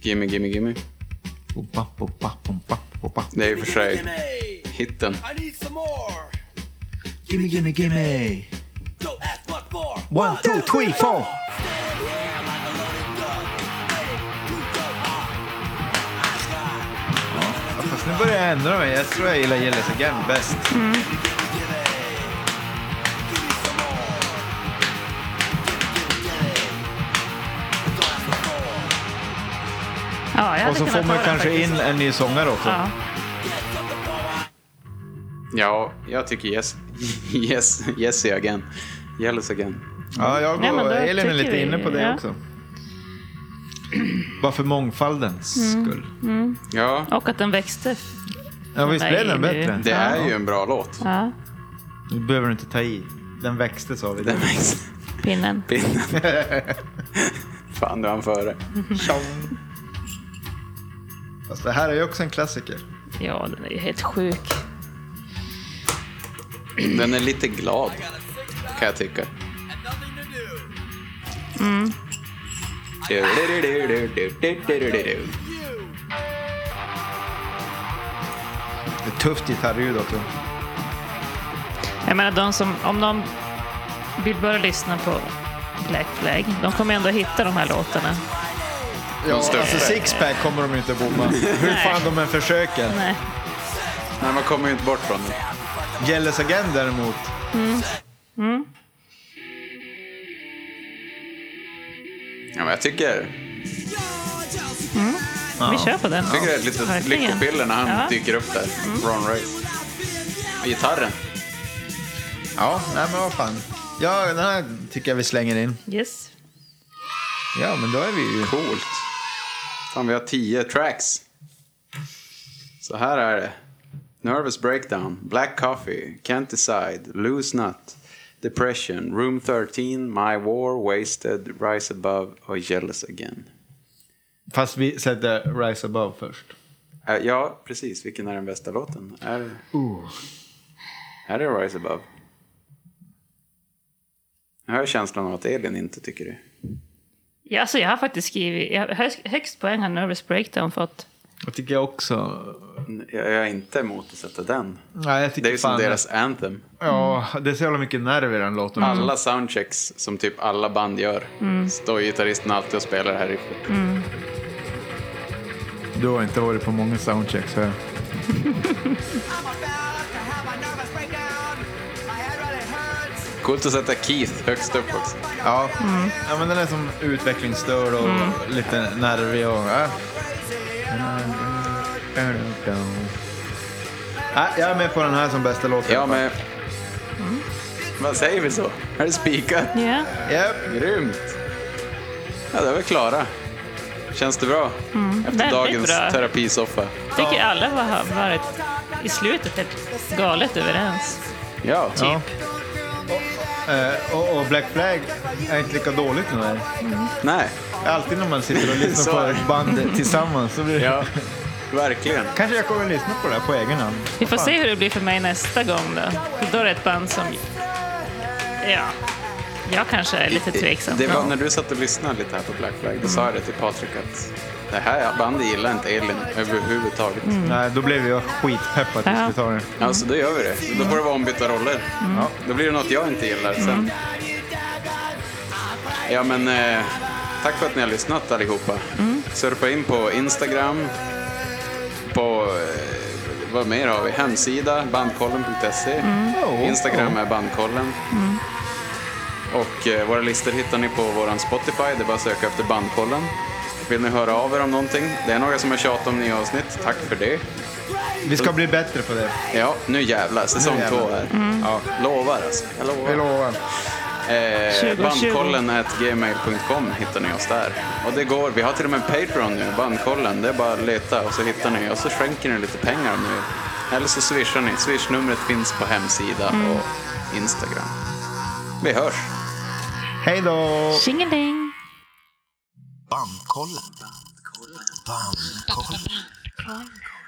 B: Gimme, gimme, gimme.
C: Poppa, poppa, poppa, poppa.
B: Det är i och
G: Gimme,
B: för sig
G: gimme.
B: hitten.
G: I need some more.
H: Gimme, gimme, gimme.
G: Don't ask what for.
H: One, two, three, four.
G: Stand here like a loaded gun, ready to go off. I got
C: Fast nu börjar jag ändra mig. Jag tror jag gillar Jealous Again bäst.
G: gimme. Give me some more. Gimme, gimme, gimme. Don't ask what for.
D: Ja, jag hade
C: Och så får
D: kunnat ta
C: man
D: den
C: kanske
D: faktiskt.
C: in en ny sångare också.
G: Get
D: Ja.
G: something for my
B: Ja, jag tycker yes. Yes, yes again. Jealous again.
C: Ja, jag
D: Nej,
C: går,
D: men då
C: Elin är
D: tycker
C: lite
D: vi-
C: inne på det
D: ja.
C: också. Bara för mångfaldens
D: Mm.
C: skull.
B: Ja,
D: Och att den växte.
C: Ja, visst
D: Nej,
C: blev den
D: nu-
C: bättre?
B: det är ju en bra låt.
D: Ja,
C: Nu behöver du inte ta i. Den växte sa vi.
B: Den växte.
D: pinnen.
B: Pinnen. Fan, du hann före.
C: Tjong. Fast det här är ju också en klassiker.
D: Ja, den är ju helt sjuk.
B: Den är lite glad, kan jag tycka. Mm. Du-du-du-du-du-du-du-du-du-du.
C: Det är tufft gitarrljud också.
D: Jag menar, de som, om de vill börja lyssna på Black Flag, de kommer ändå hitta de här låtarna.
C: Ja,
B: största.
C: alltså sixpack kommer de ju inte bomma. Hur fan de än försöker.
D: Nej.
B: Nej, man kommer ju inte bort från det.
C: Jealous Again däremot.
B: Ja, men jag tycker...
D: Vi kör på den.
B: Jag tycker det är ett litet
D: Verkligen.
B: lyckopiller när han
D: Ja.
B: dyker upp där. Ron Ray. Och gitarren.
C: Ja, nej men vad fan. Ja, den här tycker jag vi slänger in.
D: Yes.
C: Ja, men då är vi ju...
B: Coolt. Fan, vi har tio tracks. Så här är det. Nervous Breakdown, Black Coffee, Can't Decide, Loose Nut, Depression, Room 13, My War, Wasted, Rise Above och Jealous Again.
C: Fast vi sätter Rise Above först.
B: Äh, Ja, precis. Vilken är den bästa låten? Är, är det Rise Above? Jag har känslan av att Elin inte tycker det.
D: Ja, alltså jag har faktiskt skrivit, jag, hö- högst poäng har Nervous Breakdown fått.
C: Jag tycker jag också...
B: Jag är inte emot att sätta den.
C: Nej, jag tycker
B: Det är ju som
C: fan-
B: deras anthem.
C: Ja, det är så jävla mycket nerv i den låten. också.
D: Mm.
B: Alla soundchecks som typ alla band gör står gitarristen alltid och spelar här i.
D: Mm.
C: Du har inte varit på många soundchecks här.
B: Coolt att sätta Keith högst upp också.
C: Ja. ja, men den är som utvecklingsstörd och lite nervig och... Äh.
B: Mm.
C: Äh, jag är med på den här som bästa låten.
B: Ja, men...
D: Mm.
B: Vad säger vi så? Är det spikat?
D: Ja,
C: Japp.
B: Grymt! Ja, det var klara. Känns det bra? Efter
D: väldigt
B: dagens
D: bra.
B: terapisoffa.
D: jag tycker alla var- har varit i slutet helt galet överens.
B: Ja.
C: Ja. Eh, och, och Black Flag är inte lika dåligt nu. här.
B: Nej.
C: Alltid när man sitter och lyssnar
B: Så
C: på
B: är
C: ett band tillsammans så blir det...
B: Ja, verkligen.
C: Kanske jag kommer att lyssna på det här på egen hand.
D: Vi får se hur det blir för mig nästa gång då. För Då är det ett band som, ja, jag kanske är lite tveksam. Mm.
B: Det var när du satt och lyssnade lite här på Black Flag, då sa jag det till Patrik att Det här bandet gillar inte Elin överhuvudtaget.
C: Nej, då blev jag skitpeppad tills
D: Ja.
C: vi tar den.
B: Ja, så Alltså, då gör vi det. Mm. Så då får det vara ombytta roller.
C: Ja.
B: Då blir det något jag inte gillar sen. Ja, men eh, tack för att ni har lyssnat allihopa. Surfa in på Instagram, på eh, vad mer har vi? Hemsida, bandkollen.se.
C: Oh,
B: Instagram är bandkollen. Och eh, våra listor hittar ni på vår Spotify. Det är bara att söka efter bandkollen. Vill ni höra av er om någonting? Det är några som har tjatat om nya avsnitt. Tack för det.
C: Vi ska bli bättre på det.
B: Ja, nu jävlar. Säsong
C: Nu jävlar.
B: två här.
C: Ja.
B: Lovar alltså. Jag lovar.
C: Jag lovar.
B: Eh,
D: 2020.
B: bandkollen gmail.com hittar ni oss där. Och det går. Vi har till och med Patreon nu, bandkollen. Det är bara att leta och så hittar ni. Och så skänker ni lite pengar om ni vill. Eller så swishar ni. Swishnumret finns på hemsida och Instagram. Vi hörs.
C: Hej då!
D: Tjingeling!
I: Bandkollen. Bandkollen.